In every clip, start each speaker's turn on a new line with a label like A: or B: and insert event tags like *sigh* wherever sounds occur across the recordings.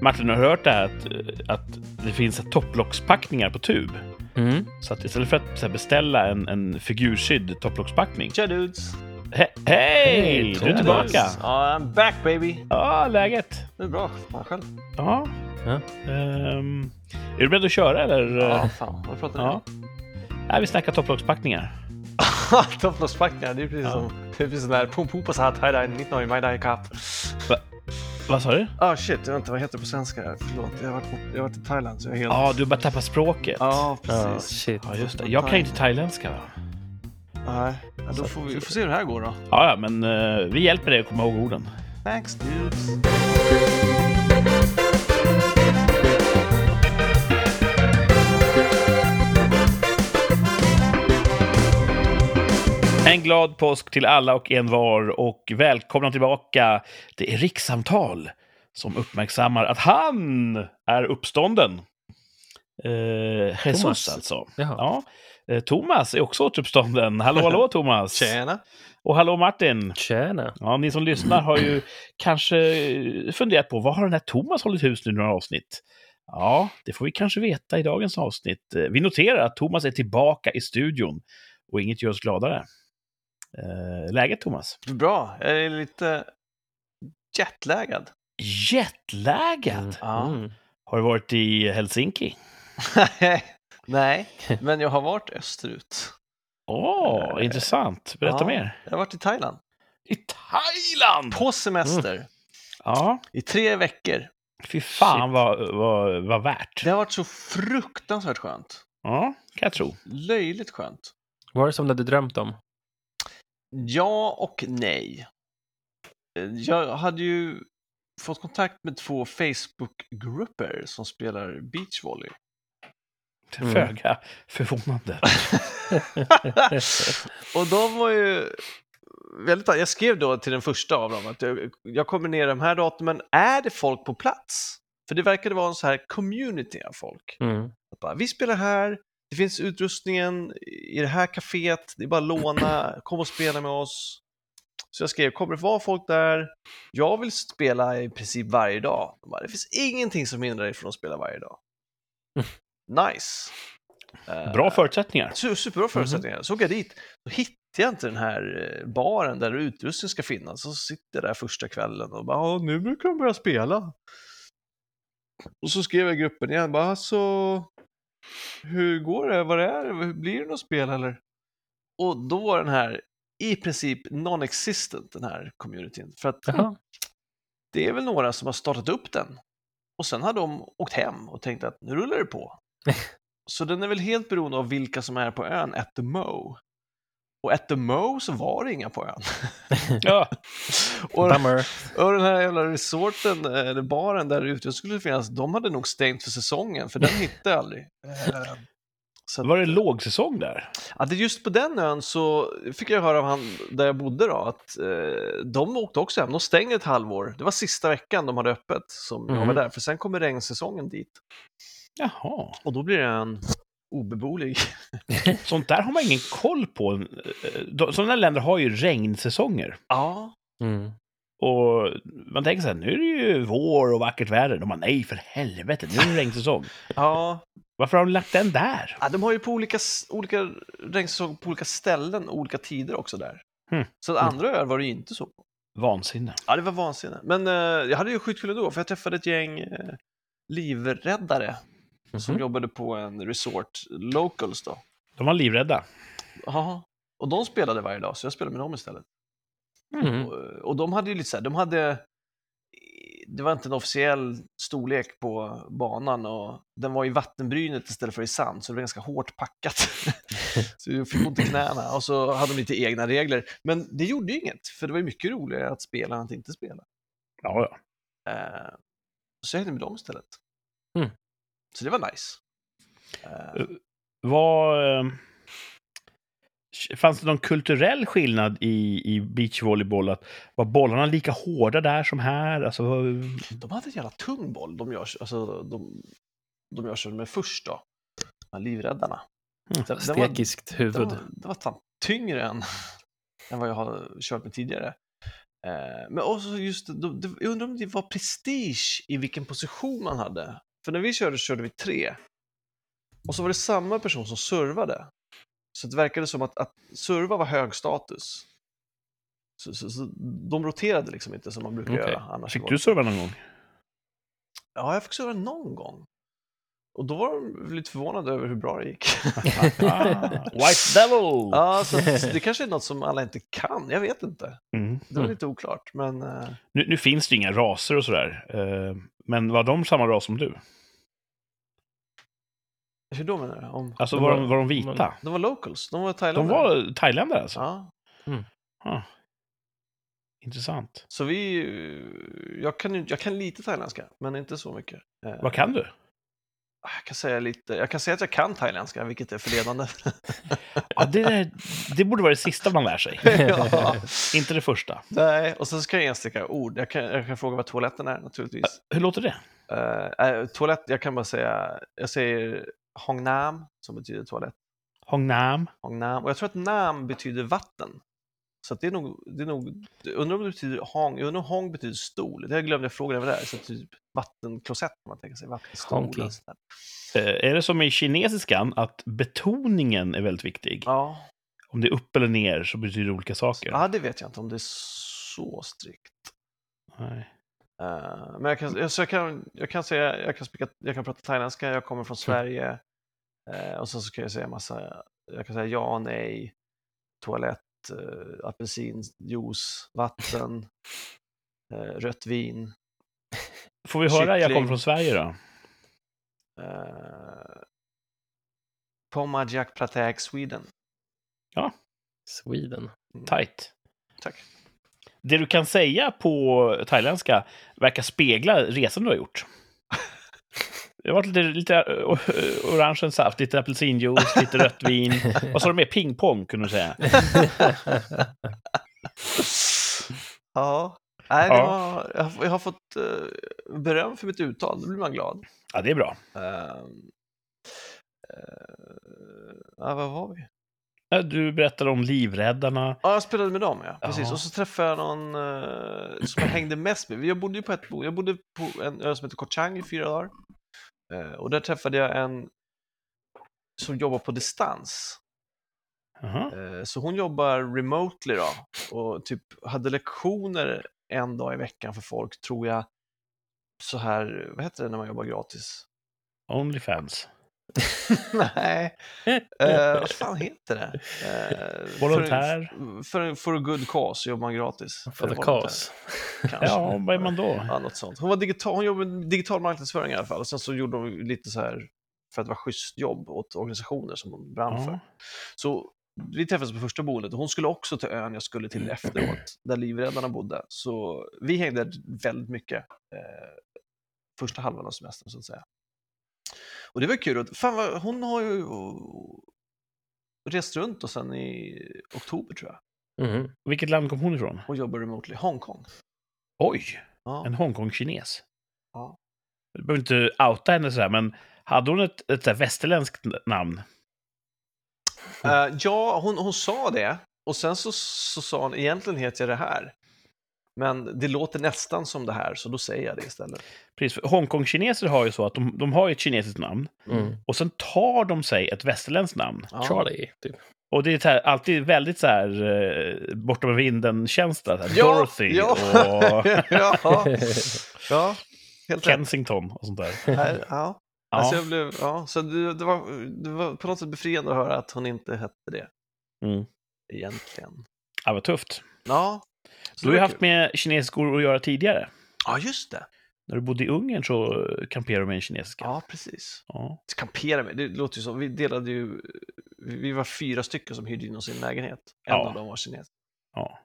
A: Martin har hört det här att, eh, att det finns topplockspackningar på tub.
B: Mm.
A: Så att istället för att så här, beställa en, en figursydd topplockspackning.
C: Tja dudes!
A: He Hej! Du är
B: Thomas.
A: tillbaka!
C: Ja, I'm back baby!
A: Ja, läget?
C: Det är bra. Fan själv.
A: Ja.
B: Ja.
A: Ehm, är du beredd att köra eller?
C: Ja, fan. Vad pratar ni om?
A: Ja. Nej, vi snackar topplockspackningar.
C: *laughs* Topplockspackningar, det är precis
A: Ja.
C: som... Det är precis som där Pum Pupas hat, Haidai, Nittnoi, Maidai Cup.
A: Vad sa du?
C: Ah shit, vänta vad heter det på svenska? Förlåt, jag har varit, på- jag har varit i Thailand så jag är helt...
A: Ja, du har bara tappat språket.
C: Ja,
B: Ja,
C: precis.
B: shit.
A: Ja, just det. Jag kan ju inte thailändska. Va?
C: Nej. Ja, då får vi, vi får se hur det här går då.
A: Ja, ja, men eh, vi hjälper dig att komma ihåg orden.
C: Thanks dudes!
A: En glad påsk till alla och en var och välkomna tillbaka. Det är rikssamtal som uppmärksammar att han är uppstånden. Eh, Jesus
B: Thomas.
A: alltså.
B: Jaha.
A: Ja. Eh, Thomas är också återuppstånden. Hallå, hallå Thomas!
C: Tjena!
A: Och hallå Martin!
B: Tjena.
A: Ja, ni som lyssnar har ju kanske funderat på vad har den här Thomas hållit hus nu i några avsnitt? Ja, det får vi kanske veta i dagens avsnitt. Eh, Vi noterar att Thomas är tillbaka i studion och inget gör oss gladare. Eh, läget Thomas?
C: Bra, jag är lite jetlaggad.
A: Jetlaggad!
C: Ja.
B: Mm.
A: Har du varit i Helsinki?
C: *laughs* Nej, men jag har varit österut.
A: Åh,
C: Eh,
A: intressant. Berätta
C: ja.
A: mer.
C: Jag har varit i Thailand.
A: I Thailand!
C: På semester.
A: Ja,
C: I tre veckor.
A: fy fan vad, vad, vad värt.
C: Det har varit så fruktansvärt skönt.
A: Ja, kan jag tro.
C: Löjligt skönt.
B: Var det som du hade drömt om?
C: Ja och nej. Eh, Jag hade ju fått kontakt med två Facebookgrupper som spelar beachvolley.
B: Mm.
A: Föga *laughs* förvånande.
C: och de var ju väldigt... Jag skrev då till den första av dem att jag, jag kommer ner de här datumen. Är det folk på plats? För det verkade vara en så här community av folk.
B: Mm.
C: Att bara, vi spelar här, det finns utrustningen i det här kaféet, det är bara att låna, kom och spela med oss. Så jag skrev, kommer det vara folk där? Jag vill spela i princip varje dag. De bara, det finns ingenting som hindrar dig från att spela varje dag. Nice. Eh,
A: Bra förutsättningar.
C: Su- Superbra förutsättningar. Så åker jag dit, då hittar jag inte den här eh, baren där utrustningen ska finnas. Så sitter jag där första kvällen och bara, "Ja, nu brukar de börja spela. Och så skrev jag i gruppen igen, bara, alltså, hur går det? Vad är det? Blir det något spel eller? Och då var den här i princip non-existent, den här communityn. För att
B: Jaha.
C: det är väl några som har startat upp den. Och sen har de åkt hem och tänkt att nu rullar det på. så den är väl helt beroende av vilka som är på ön at the mo. Och at the mo så var det inga på ön. *laughs*
B: Mm.
A: Ja.
C: och,
B: Bummer.
C: och den här jävla resorten, eh, eller baren där ute skulle finnas, de hade nog stängt för säsongen, för den hittade jag aldrig. Eh, Så att, eh,
A: Var det lågsäsong där?
C: att det just på den ön så fick jag höra av han där jag bodde då, att eh, de åkte också hem. De stängde ett halvår. Det var sista veckan de hade öppet som jag var
B: Mhm.
C: där, för sen kommer regnsäsongen dit.
A: Jaha.
C: Och då blir det en obeboelig.
A: Sånt där har man ingen koll på. Eh, Sådana länder har ju regnsäsonger.
C: Ja.
B: Mm.
A: Och man tänker så här, nu är det ju vår och vackert väder. De bara, nej för helvete, nu är det
C: *laughs*
A: regnsäsong.
C: ja.
A: Varför har de lagt den där?
C: ja de har ju på olika, s- olika regnsäsong på olika ställen och olika tider också där.
A: Hmm.
C: Så att andra öar var det ju inte så.
A: Vansinne.
C: Ja, det var vansinne. Men eh, jag hade ju skitkul ändå, för jag träffade ett gäng eh, livräddare som
B: Mhm.
C: jobbade på en resort, locals då.
A: De var livrädda.
C: Jaha. Och de spelade varje dag, så jag spelade med dem istället.
B: Mm.
C: Och, och de hade ju lite så här, de hade... Det var inte en officiell storlek på banan och den var i vattenbrynet istället för i sand, så det var ganska hårt packat. *laughs* så jag fick ont i knäna och så hade de lite egna regler. Men det gjorde ju inget, för det var ju mycket roligare att spela än att inte spela.
A: Ja, ja.
C: Eh, så jag hängde med dem istället.
B: Mm.
C: Så det var nice. Eh,
A: Var, eh, fanns det någon kulturell skillnad i, i beachvolleyboll? Att, var bollarna lika hårda där som här? Alltså, vad-
C: De hade en jävla tung boll. De gör, alltså, de, de gör sig med först då. De här livräddarna.
A: Mm,
C: Den, den var,
B: Stekiskt
C: *laughs* den
B: huvud.
C: *laughs* var, den var fan tyngre än, än vad jag har kört med tidigare. Eh, Men också just, då- det- jag undrar om det var prestige i vilken position man hade. För när vi körde körde vi tre. Och så var det samma person som servade. Så det verkade som att, att serva var hög status. Så, så, så de roterade liksom inte som man brukar
B: Okej.
C: göra annars. i
A: Fick
C: vår-
A: du serva
C: *laughs*
A: någon gång?
C: Ja, jag fick serva någon gång. Och då var de lite förvånade över hur bra det gick.
A: Ah, White Devil!
C: ja,
A: *laughs*
C: så att det kanske är något som alla inte kan, jag vet inte.
A: Mm.
C: Det var
B: Mm.
C: lite oklart, men eh,
A: Nu, nu finns det ju inga raser och sådär, eh, men var de samma ras som du?
C: hur då menar du? Om...
A: Alltså
B: De
A: var
B: var-
A: de, var de vita?
C: De var locals, de var
A: De
C: thailändare.
A: var thailändare alltså?
C: Ja.
A: Intressant.
C: Så vi, eh, jag kan, ju- jag kan lite thailändska, men inte så mycket. Eh,
A: Vad kan du?
C: Jag kan, säga lite, jag kan säga att jag kan thailändska, vilket är förledande.
A: *laughs*
C: *laughs*
A: Ja, det, där, det borde vara det sista man lär
C: *laughs*
A: sig,
C: ja,
A: inte det första.
C: nej. Och sen ska jag enstaka ord. Jag kan, jag kan fråga vad toaletten är naturligtvis.
A: Hur låter det?
C: Eh, eh, toalett, jag kan bara säga, jag säger Hong Nam, som betyder toalett.
A: Hong Nam?
C: Hong Nam. Och jag tror att Nam betyder vatten. Så att det är nog, det är nog jag undrar om det betyder Hong, jag undrar om Hong betyder stol. Det glömde jag fråga över där. Så typ vattenklosett kan man tänka sig, vattenstol.
B: Honky.
C: och sånt där.
A: Eh, är det som i kinesiskan, att betoningen är väldigt viktig?
C: Ja,
A: Om det är upp eller ner så betyder det olika saker.
C: Ja, det vet jag inte om det är så strikt.
A: Nej.
C: Eh, men jag kan, jag- så jag kan, jag kan säga, jag kan, spika, jag kan prata thailändska, jag kommer från Sverige. Eh, och sen så kan jag säga massa, jag kan säga ja, nej, toalett, uh, apelsinjuice, vatten, eh, rött vin.
A: Får vi höra jag
C: Kyckling.
A: kommer från Sverige då?
C: Uh, Pomajak Pratek Sweden.
B: Sweden.
A: Tight.
C: Tack.
A: Det du kan säga på thailändska verkar spegla resan du har gjort. Det har varit lite, lite ö, ö, orange saft, lite apelsinjuice, lite rött
C: *laughs*
A: vin. Vad sa du mer? Pingpong kunde du säga.
C: Ja. Nej, det
A: Ja.
C: Var, jag, har- jag har fått eh, beröm för mitt uttal, då blir man glad.
A: Ja, det är bra.
C: Ehm, eh, ja, vad var vi?
A: Ja, Du berättade om livräddarna.
C: Ja, jag spelade med dem, ja. Precis.
A: Jaha.
C: Och så träffade jag någon eh, som jag hängde mest med. Jag bodde ju på ett bo. Jag bodde på en ö som heter Koh Chang i fyra dagar. Eh, och där träffade jag en som jobbar på distans.
A: Aha.
C: Eh, så hon jobbar remotely då och typ hade lektioner en dag i veckan för folk, tror jag. Så här, vad heter det när man jobbar gratis? *laughs*
A: Onlyfans.
C: Nej. Eh, vad fan heter det? Uh,
A: Volontär.
C: För, för, for a good cause så jobbar man gratis.
B: För the
C: Volontär,
B: cause. *laughs*
C: Kanske.
A: Ja, vad är man då?
C: Ja, något sånt. Hon, var digital, hon jobbade med digital marknadsföring i alla fall. Och sen så gjorde hon lite så här för att vara schysst jobb åt organisationer som hon brann för.
A: Ja.
C: Så vi träffades på första boendet och hon skulle också till ön jag skulle till efteråt, där livräddarna bodde. Så vi hängde väldigt mycket eh, första halvan av semestern så att säga. Och det var kul. att- Fan, vad, hon har ju och, rest runt och sen i oktober tror jag
B: Mhm.
A: Vilket land kom hon ifrån?
C: och jobbar remotely. Hongkong.
A: Oj,
C: Ja.
A: en Hongkong-kines.
C: Ja.
A: Du behöver inte outa henne sådär, men hade hon ett, ett så här västerländskt namn?
C: Eh, ja, hon, hon sa det och sen så, så sa hon egentligen heter jag det här. Men det låter nästan som det här så då säger jag det istället.
A: Precis, för Hongkong-kineser har ju så att de, de har ju ett kinesiskt namn
B: Mm.
A: och sen tar de sig ett västerländskt namn.
C: Ja.
B: Charlie, typ.
A: Och det är så här, alltid väldigt så här eh, bortom vinden-känsla. så här,
C: Ja,
A: Dorothy
C: ja. *laughs*
A: och *laughs*
C: ja. ja, helt rätt.
A: Kensington och sånt där.
C: Här, ja.
A: Ja.
C: Alltså jag blev, ja. Så det, det, var, det var på något sätt befriande att höra att hon inte hette det
A: Mm.
C: egentligen.
A: Ja, vad tufft.
C: Ja.
A: Du
C: Så
A: har
C: det
A: ju
C: var
A: haft
C: kul.
A: med kinesiskor att göra tidigare.
C: Ja, just det.
A: När du bodde i Ungern så eh, kamperade du med en kinesiska.
C: Ja, precis.
A: Ja.
C: Kampera med, det låter ju som, vi delade ju, vi var fyra stycken som hyrde in oss i en lägenhet. En
A: Ja.
C: av dem var kines.
A: ja.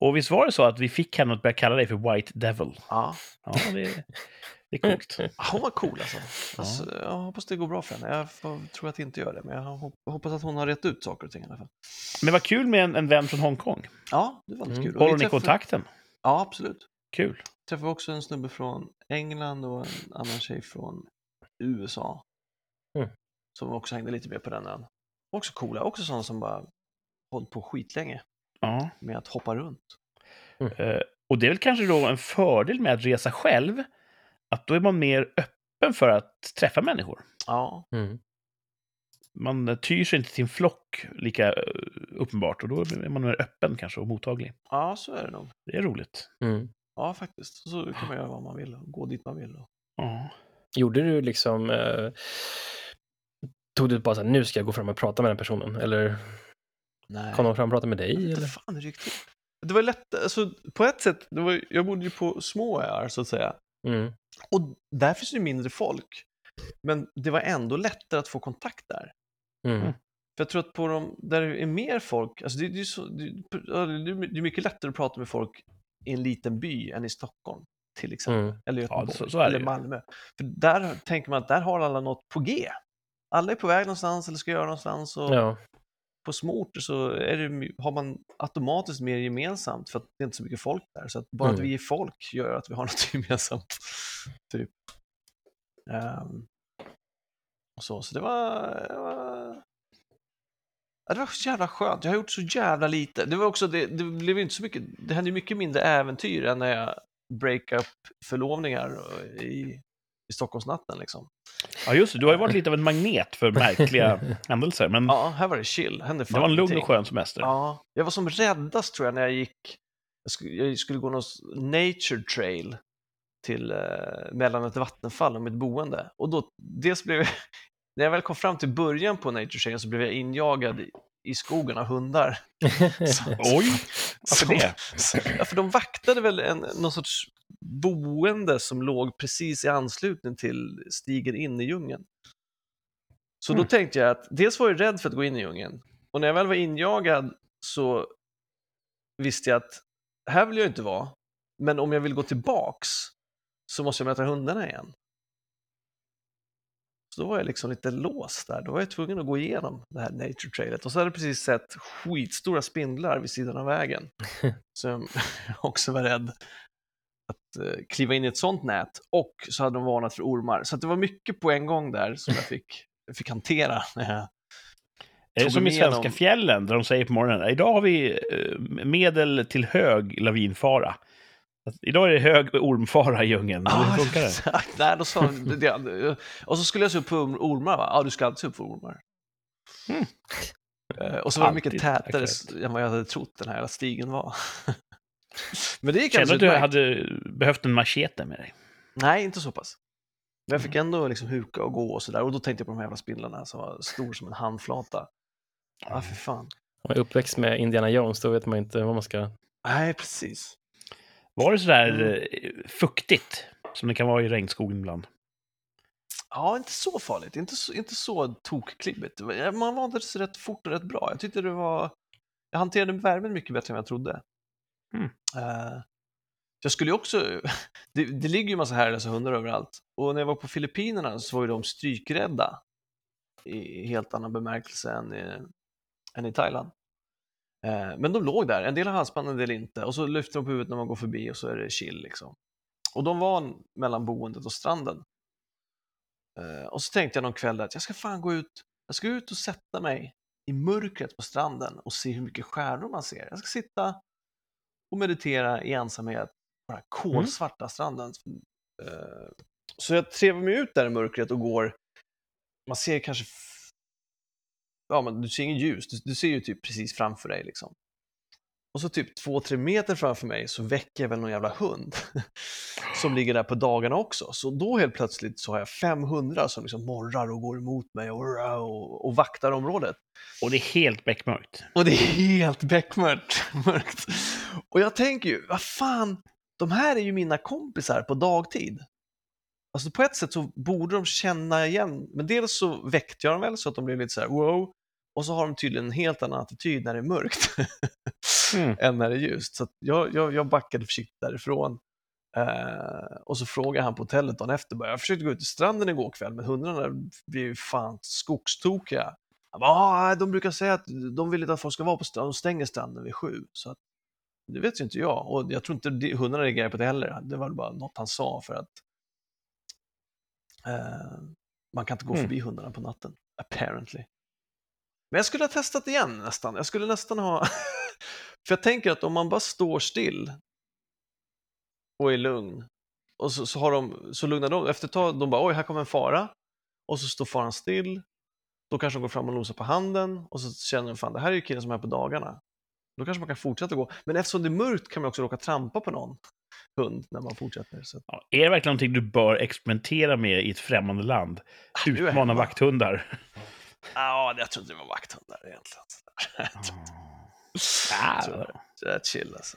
A: Och visst var det så att vi fick henne att börja kalla dig för White Devil?
C: Ja.
A: Ja, det, det är
C: *laughs*
A: coolt.
C: Ja, Hon var cool alltså. alltså Jag hoppas det går bra för henne. Jag får- tror att det inte gör det, men jag hop- hoppas att hon har rätt ut saker och ting i alla fall.
A: Men vad kul med en, en vän från Hongkong.
C: Ja, det var lite
B: Mm.
C: kul. Och vi
A: Håller ni
C: träffade-
A: kontakten?
C: Ja, absolut.
A: Kul.
C: Träffade också en snubbe från England och en annan tjej från USA.
B: Mm.
C: Som också hängde lite med på den ön. Också coola, också sådana som bara hållit på skitlänge
A: Ja.
C: med att hoppa runt.
B: Mm.
A: Eh, och det är väl kanske då en fördel med att resa själv, att då är man mer öppen för att träffa människor.
C: Ja.
B: Mm.
A: Man tyr sig inte till en flock lika eh, uppenbart och då är man mer öppen kanske och mottaglig.
C: ja, så är det nog.
A: Det är roligt.
B: Mm.
C: Ja, faktiskt. Så kan man göra vad man vill och gå dit man vill. och-
A: Ja.
B: Gjorde du liksom... Eh, tog du bara så här, nu ska jag gå fram och prata med den personen? Eller
C: Nej.
B: kom de fram och pratade med
C: Jag vet
B: dig?
C: inte
B: Eller?
C: fan hur det gick till. Det var lätt, alltså på ett sätt, det var, jag bodde ju på små öar så att säga.
B: Mm.
C: Och där finns det ju mindre folk. Men det var ändå lättare att få kontakt där.
B: Mm.
A: Mm.
C: För jag tror att på de, där det är mer folk, alltså det, det, är så, det, ja, det är det är mycket lättare att prata med folk i en liten by än i Stockholm till exempel.
B: Mm.
C: Eller Göteborg,
A: så- så är det
C: eller
A: ju.
C: Malmö. För där tänker man att där har alla något på G. Alla är på väg någonstans eller ska göra någonstans. Och
B: Ja.
C: På små orter så är det, har man automatiskt mer gemensamt för att det är inte så mycket folk där. Så att bara att
B: Mm.
C: vi är folk gör att vi har *laughs* något gemensamt. Typ. Ehm, och så, så det var... Det var... Ja, det var så jävla skönt. Jag har gjort så jävla lite. Det var också det, det blev ju inte så mycket. Det hände ju mycket mindre äventyr än när jag break-up förlovningar i, i Stockholmsnatten liksom.
A: ja, just det. Du har ju varit lite av en magnet för
C: *laughs*
A: märkliga händelser, men
C: Ja, här var det chill. Hände fan
A: Mm. det var en lugn
C: ingenting.
A: och skön semester.
C: Ja, jag var som räddast tror jag när jag gick, jag skulle, jag skulle gå någon s- nature trail till, eh, mellan ett vattenfall och mitt boende. Och då, dels blev jag, *laughs* när jag väl kom fram till början på nature trail så blev jag injagad i, i skogen av hundar. Så-
A: Oj, varför
C: som-
A: det?
C: så- Ja, för de vaktade väl en, någon sorts boende som låg precis i anslutning till stigen in i djungeln. Så då
A: Mm.
C: tänkte jag att dels var jag rädd för att gå in i djungeln och när jag väl var injagad så visste jag att här vill jag inte vara, men om jag vill gå tillbaks så måste jag möta hundarna igen. Så då var jag liksom lite låst där. Då var jag tvungen att gå igenom det här nature trailet. Och så hade jag precis sett skitstora spindlar vid sidan av vägen. Så jag också var rädd att eh, kliva in i ett sånt nät. Och så hade de varnat för ormar. Så att det var mycket på en gång där som jag fick, fick hantera. *laughs* När jag...
A: Är det
C: Tog
A: Eh, som i
C: igenom-
A: svenska fjällen, där de säger på morgonen idag har vi eh, medel till hög lavinfara. Att Idag är det hög ormfara i djungeln. Hur funkar det?
C: exakt. Nej, då sa de, det, och så skulle jag se upp på orm- ormar, va? Ja, du ska alltid se upp på ormar.
A: Mm.
C: Eh, Och så var det mycket
A: Alltid
C: tätare
A: aktuellt.
C: än vad jag hade trott den här jävla stigen var. *laughs* Men det gick
A: Kände du
C: alldeles
A: att du
C: utmärkt.
A: hade behövt en machete med dig?
C: Nej, inte så pass. Men jag fick
A: Mm.
C: ändå liksom huka och gå och sådär. Och då tänkte jag på de här jävla spindlarna som var stor som en handflata. Ja, ah, för
B: *laughs*
C: fan.
B: Om man är uppväxt med Indiana Jones, då vet man inte vad man ska...
C: Nej, precis.
A: Var det
C: Mm.
A: sådär eh, fuktigt som det kan vara i regnskogen ibland?
C: Ja, inte så farligt. Inte så, inte så tokklibbigt. Det var- Man vandrades rätt fort och rätt bra. Jag tyckte det var... Jag hanterade värmen mycket bättre än jag trodde.
A: Mm.
C: Eh, jag skulle ju också... *laughs* Det, det ligger ju en massa herrelösa hundar överallt. Och när jag var på Filippinerna så var ju de strykrädda i helt annan bemärkelse än i, än i Thailand. Eh, men de låg där, en del har halsband, en del inte. Och så lyfter de på huvudet när man går förbi och så är det chill. Liksom. Och de var mellan boendet och stranden. Eh, Och så tänkte jag någon kväll att jag ska fan gå ut, jag ska ut och sätta mig i mörkret på stranden och se hur mycket stjärnor man ser. Jag ska sitta och meditera i ensamhet på den här kolsvarta stranden. Eh, Så jag trevar mig ut där i mörkret och går, man ser kanske, f- ja men du ser inget ljus, du, du ser ju typ precis framför dig liksom. Och så typ två, tre meter framför mig så väcker jag väl någon jävla hund som ligger där på dagarna också. Så då helt plötsligt så har jag 500 som liksom morrar och går emot mig och, och, och vaktar området.
A: Och det är helt beckmörkt.
C: Och det är helt beckmört. *laughs* mörkt. Och jag tänker ju, vad fan, de här är ju mina kompisar på dagtid. Alltså på ett sätt så borde de känna igen, men dels så väckte jag dem väl så att de blev lite så här wow, och så har de tydligen en helt annan attityd när det är mörkt *laughs*
A: Mm.
C: än när det är ljust. Så att jag, jag, jag backade försiktigt därifrån. Eh, och så frågade han på hotellet dagen efter, bara, jag försökte gå ut till stranden igår kväll, men hundarna blev ju fan skogstokiga. Han bara, "Ah, nej, de brukar säga att de vill inte att folk ska vara på stranden, de stänger stranden vid sju. Så att, det vet ju inte jag och jag tror inte det- hundarna reagerar på det heller. Det var bara något han sa för att eh, man kan inte gå
A: Mm.
C: förbi hundarna på natten, apparently. Men jag skulle ha testat igen nästan. Jag skulle nästan ha För jag tänker att om man bara står still och är lugn, och så, så, har de, så lugnar de, efter ett tag, de bara oj, här kommer en fara, och så står faran still, då kanske de går fram och nosar på handen och så känner de fan, det här är ju killen som är här på dagarna. Då kanske man kan fortsätta gå, men eftersom det är mörkt kan man också råka trampa på någon hund när man fortsätter. Så. att-
A: Ja, är det verkligen någonting du bör experimentera med i ett främmande land?
C: Ah, nu är jag
A: Utmana
C: hemma.
A: vakthundar.
C: Ja, jag tror inte det var vakthundar egentligen.
A: Ah,
C: Så, det är chill alltså.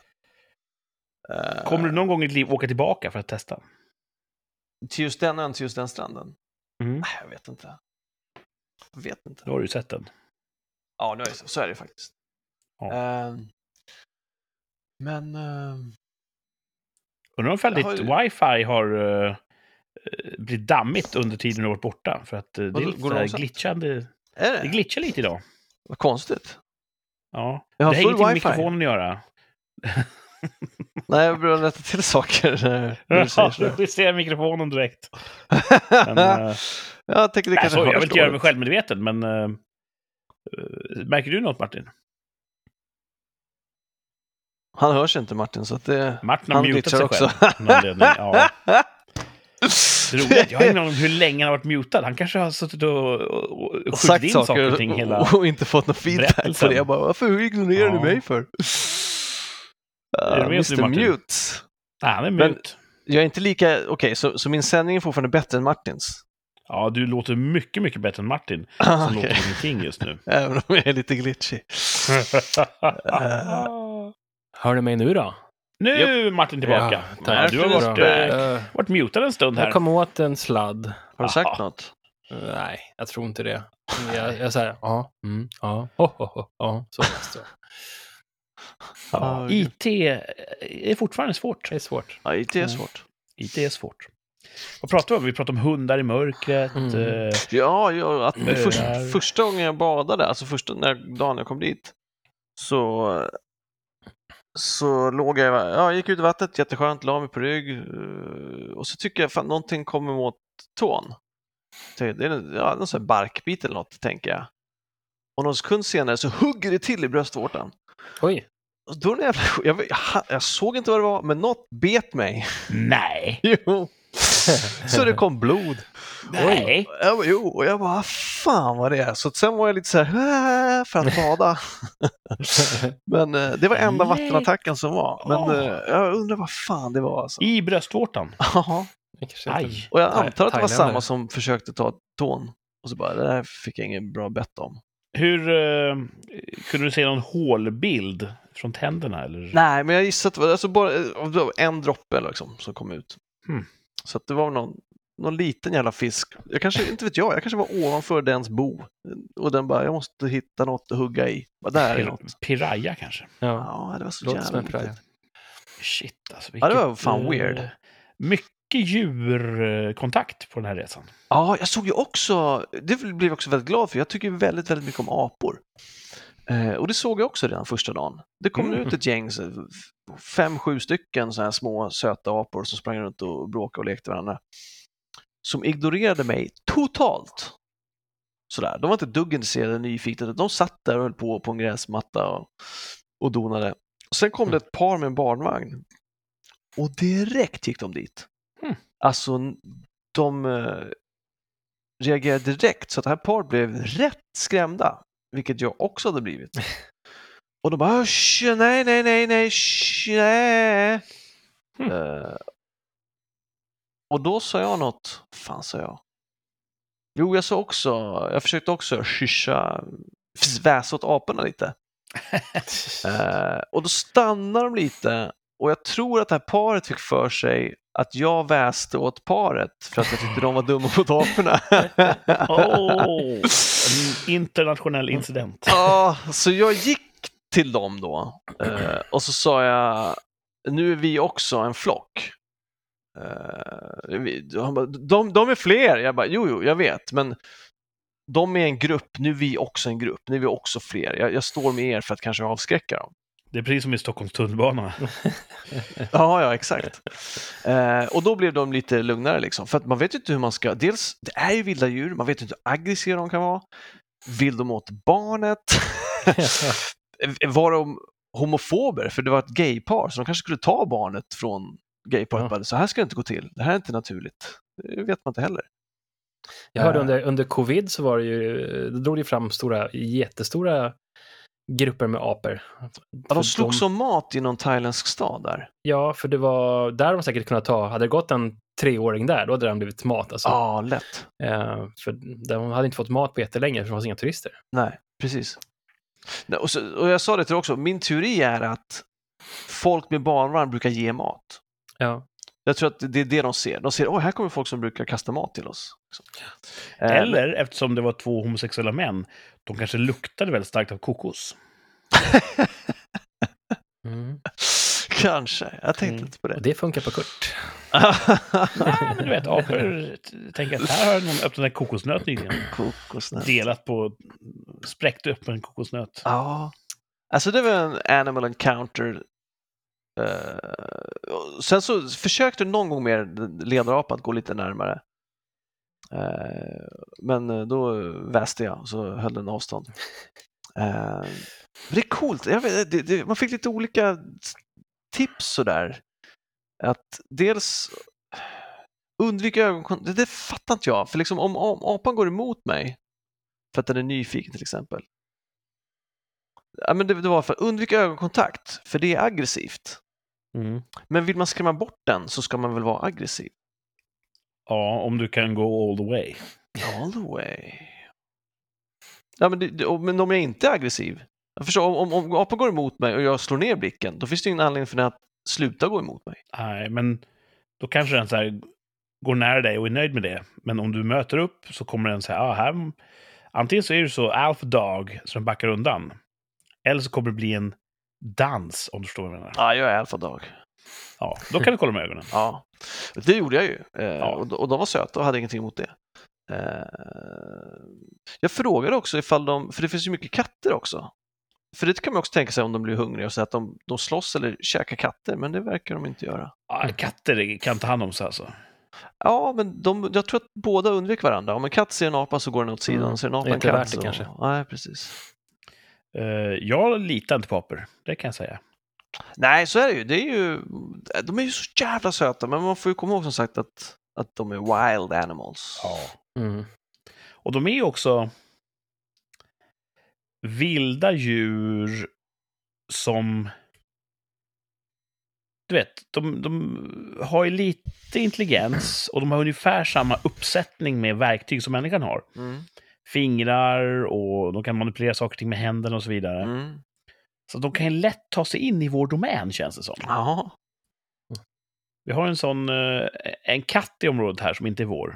C: Eh,
A: Kommer du någon gång i ditt liv åka tillbaka för att testa?
C: Eh, Till just den ön, till just den stranden?
A: Mm.
C: Nej, jag vet inte. Jag vet inte.
A: Då har du ju sett den.
C: Ja, nu är det så. så är det faktiskt.
A: Ja.
C: Ehm, men ehm,
A: Undrar om ifall
C: Jag har
A: ditt
C: ju-
A: wifi har eh, blivit dammigt under tiden du har varit borta. För att eh, det är
C: Vadå,
A: lite
C: går det
A: så här
C: långsamt?
A: glitchande.
C: är det?
A: Det glitchar lite idag.
C: Vad konstigt.
A: Ja.
C: Jag har
A: det har
C: full
A: ingenting med
C: wifi.
A: mikrofonen att göra.
C: Nej, jag börjar rätta till saker eh, när du
A: Ja,
C: säger
A: du
C: sådär.
A: justerar mikrofonen direkt. Men, eh,
C: *laughs* jag tänker det
A: nej,
C: kanske
A: så, jag vill
C: hörs
A: inte göra mig
C: dåligt.
A: självmedveten, men... eh, eh, märker du något, Martin?
C: Han hörs inte Martin, så att det...
A: Martin har
C: Han
A: mutat
C: glitchar
A: sig
C: också.
A: själv. av någon anledning. Ja. Det roliga är att jag har ingen
C: Och
A: aning om hur länge han har varit mutad. Han kanske har suttit och, och, och, och skjutit
C: sagt
A: in saker
C: saker
A: och ting hela...
C: *laughs* och inte fått någon feedback
A: berättelsen.
C: på det. Jag bara, varför ignorerar
A: Ja.
C: du mig för?
A: du
C: Uh,
A: med oss nu,
C: Mr
A: Martin?
C: Mute.
A: Nej, han är
C: Men-
A: mut.
C: Jag är inte lika, okej, så, så min sändning är fortfarande bättre än Martins?
A: Ja, du låter mycket, mycket bättre än Martin. Som
C: Ah, Okej.
A: låter ingenting just nu. *laughs*
C: Även om jag är lite glitchy.
B: Hör ni mig nu då?
A: nu är Martin tillbaka.
B: Ja,
A: Ja,
B: tack.
A: du har varit,
C: Bra.
A: eh,
B: Eh,
A: varit mutad en stund här.
B: jag kom åt en sladd.
C: Har du
A: Aha.
C: sagt något?
B: Nej, jag tror inte det. Jag, jag säger ja, mm, ja, ho, ho, ho, ja, så måste jag.
A: Ja, IT eh, är fortfarande svårt.
B: Det är svårt.
C: Ja, IT är svårt.
A: IT är svårt. Vad pratar vi om? Vi pratar om hundar i mörkret.
B: Mm.
A: eh,
C: Ja, ja att
A: Mm.
C: först,
A: Där.
C: första gången jag badade, alltså första när, dagen jag kom dit, så, så låg jag, ja, jag gick ut i vattnet, jätteskönt, la mig på rygg eh, och så tycker jag fan någonting kommer mot tån. Det är en, ja, någon sån här barkbit eller något, tänker jag. Och någon sekund senare så hugger det till i bröstvårtan.
B: Oj,
C: Och Då när jag, jag, jag, jag såg inte vad det var, men något bet mig. *laughs*
A: nej.
C: Jo. Så det kom blod.
A: Nej.
C: Jag bara, jo, och jag bara, fan vad det är. Så att sen var jag lite så här, "Äh", för att bada. Men eh, det var enda
A: Nej.
C: vattenattacken som var. Men
A: Åh.
C: eh, jag undrar vad fan det var alltså.
A: I bröstvårtan.
C: Ja.
B: *laughs* det kanske inte-
A: Aj.
C: och jag
B: Thai-
C: antar att det var
B: thailändare.
C: samma som försökte ta tån. Och så bara, det där fick jag ingen bra bett om.
A: Hur eh, kunde du se någon hålbild från tänderna? Eller?
C: Nej, men jag gissar att det var, alltså bara, eh, det var en droppe liksom, som kom ut.
A: Hmm.
C: Så att det var någon, någon liten jävla fisk. Jag kanske, inte vet jag, jag kanske var ovanför dens bo. Och den bara, jag måste hitta något att hugga i. Vad där är
A: Pir-
C: något.
A: Piraya kanske?
B: Ja,
C: Ja, det var så
B: låter som
C: jävla
B: en praja.
C: litet.
A: Shit alltså.
C: Ja, det var
A: vilket,
C: fan
A: eh,
C: weird.
A: Mycket djurkontakt på den här
C: *laughs*
A: resan.
C: Ja, jag såg ju också, det blev jag också väldigt glad för, jag tycker ju väldigt, väldigt mycket om apor. Eh, och det såg jag också redan första dagen. Det kom
A: Mm.
C: ut ett gäng, så här, f- fem, sju stycken så här små söta apor som sprang runt och bråkade och lekte varandra. Som ignorerade mig totalt. Sådär. De var inte ett dugg intresserade, nyfikna, de satt där och höll på på en gräsmatta och, och donade. Och sen
A: Mm.
C: kom det ett par med en barnvagn och direkt gick de dit.
A: Mm.
C: Alltså, de eh, reagerade direkt så att det här paret blev rätt skrämda, vilket jag också hade blivit. Och de bara "Usch, nej, nej, nej, nej, sh, nej.
A: Mm.
C: Eh, och då sa jag något, fan sa jag? Jo, jag sa också, jag försökte också skyscha, sväsa åt aporna lite. Eh, och då stannar de lite och jag tror att det här paret fick för sig att jag väste åt paret för att jag tyckte de var dumma mot aporna.
A: Oh, en internationell incident.
C: Ja, så jag gick till dem då eh, och så sa jag, nu är vi också en flock. Eh, vi- han bara, de, de är fler! Jag bara, jo, jo, jag vet, men de är en grupp, nu är vi också en grupp, nu är vi också fler. Jag, jag står med er för att kanske avskräcka dem.
A: Det är precis som i Stockholms
C: Äh,
A: tunnelbana.
C: Ja, ja, exakt. Eh, och då blev de lite lugnare liksom, för att man vet ju inte hur man ska, dels, det är ju vilda djur, man vet ju inte hur aggressiva de kan vara. Vill de åt barnet? Var de, homofober, för det var ett gaypar, så de kanske skulle ta barnet från gayparet.
B: Ja.
C: Bara, Så här ska det inte gå till, det här är inte naturligt. Det vet man inte heller.
B: Jag hörde under, under covid så var det ju, då drog det fram stora, jättestora grupper med apor.
C: Ja,
B: För
C: de slogs om mat i någon thailändsk stad där.
B: Ja, för det var, där hade de säkert kunnat ta, hade det gått en treåring där, då hade den blivit mat alltså.
C: Ja, lätt.
B: Eh, för de hade inte fått mat på jättelänge, för det fanns inga turister.
C: Nej, precis. Nej, och, så, och jag sa det till dig också, min teori är att folk med barnvagn brukar ge mat.
B: Ja.
C: Jag tror att det är det de ser. De ser, åh, här kommer folk som brukar kasta mat till oss. Liksom. Eh,
A: Eller eftersom det var två homosexuella män, de kanske luktade väldigt starkt av kokos.
B: Mm.
C: Eh, *laughs* Kanske, jag tänkte
A: Mm.
C: inte på det.
B: Och det funkar på Kurt.
A: Ja, men du vet, apor t- tänker att här har någon öppnat en kokosnöt nyligen.
C: *laughs* Kokosnöt.
A: Delat på, spräckt upp en kokosnöt.
C: Ja. Alltså det var en animal encounter. Eh, och sen så försökte någon gång mer ledarapan att gå lite närmare. Eh, men då väste jag och så höll den avstånd. Eh, men det är coolt, jag vet, det, det, man fick lite olika tips sådär. Att dels undvik ögonkontakt, det, det fattar inte jag. För liksom om, om apan går emot mig för att den är nyfiken till exempel. Ja, men det, det var för att undvika ögonkontakt, för det är aggressivt.
A: Mm.
C: Men vill man skrämma bort den så ska man väl vara aggressiv?
A: Ja, om du kan gå all the way.
C: All the way. Ja, men, det, det, och- men om jag inte är aggressiv? Jag förstår, om, om, om apan går emot mig och jag slår ner blicken, då finns det ju ingen anledning för den att sluta gå emot mig.
A: Nej, men då kanske den så här går nära dig och är nöjd med det. Men om du möter upp så kommer den säga, ah, här... Antingen så är du så alpha dog, så den backar undan. Eller så kommer det bli en dans, om du förstår vad jag menar.
C: Ja, jag är alfa dag.
A: Ja, då kan du kolla med ögonen.
C: Ja, det gjorde jag ju. Eh,
A: Ja.
C: och, de- och de var söta och hade ingenting emot det. Eh, jag frågade också ifall de, för det finns ju mycket katter också. För det kan man också tänka sig om de blir hungriga och säga att de, de slåss eller käkar katter, men det verkar de inte göra.
A: Ja, katter kan ta hand om sig alltså.
C: Ja, men de, jag tror att båda undviker varandra. Om en katt ser en apa så går den åt sidan,
B: Mm,
C: ser en
B: det
C: apa
B: är
C: en
B: inte
C: katt
B: värt det
C: så...
B: kanske.
C: Nej, precis.
A: Eh, jag litar inte på apor, det kan jag säga.
C: Nej, så är det ju. Det är ju. De är ju så jävla söta, men man får ju komma ihåg som sagt att, att de är wild animals.
B: *laughs* Mm.
A: Och de är ju också vilda djur som... Du vet, de, de har ju lite intelligens och de har ungefär samma uppsättning med verktyg som människan har.
C: Mm.
A: Fingrar och de kan manipulera saker och ting med händerna och så vidare.
C: Mm.
A: Så de kan ju lätt ta sig in i vår domän, känns det som.
C: Ja.
A: Vi har en sån, eh, en katt i området här som inte är vår.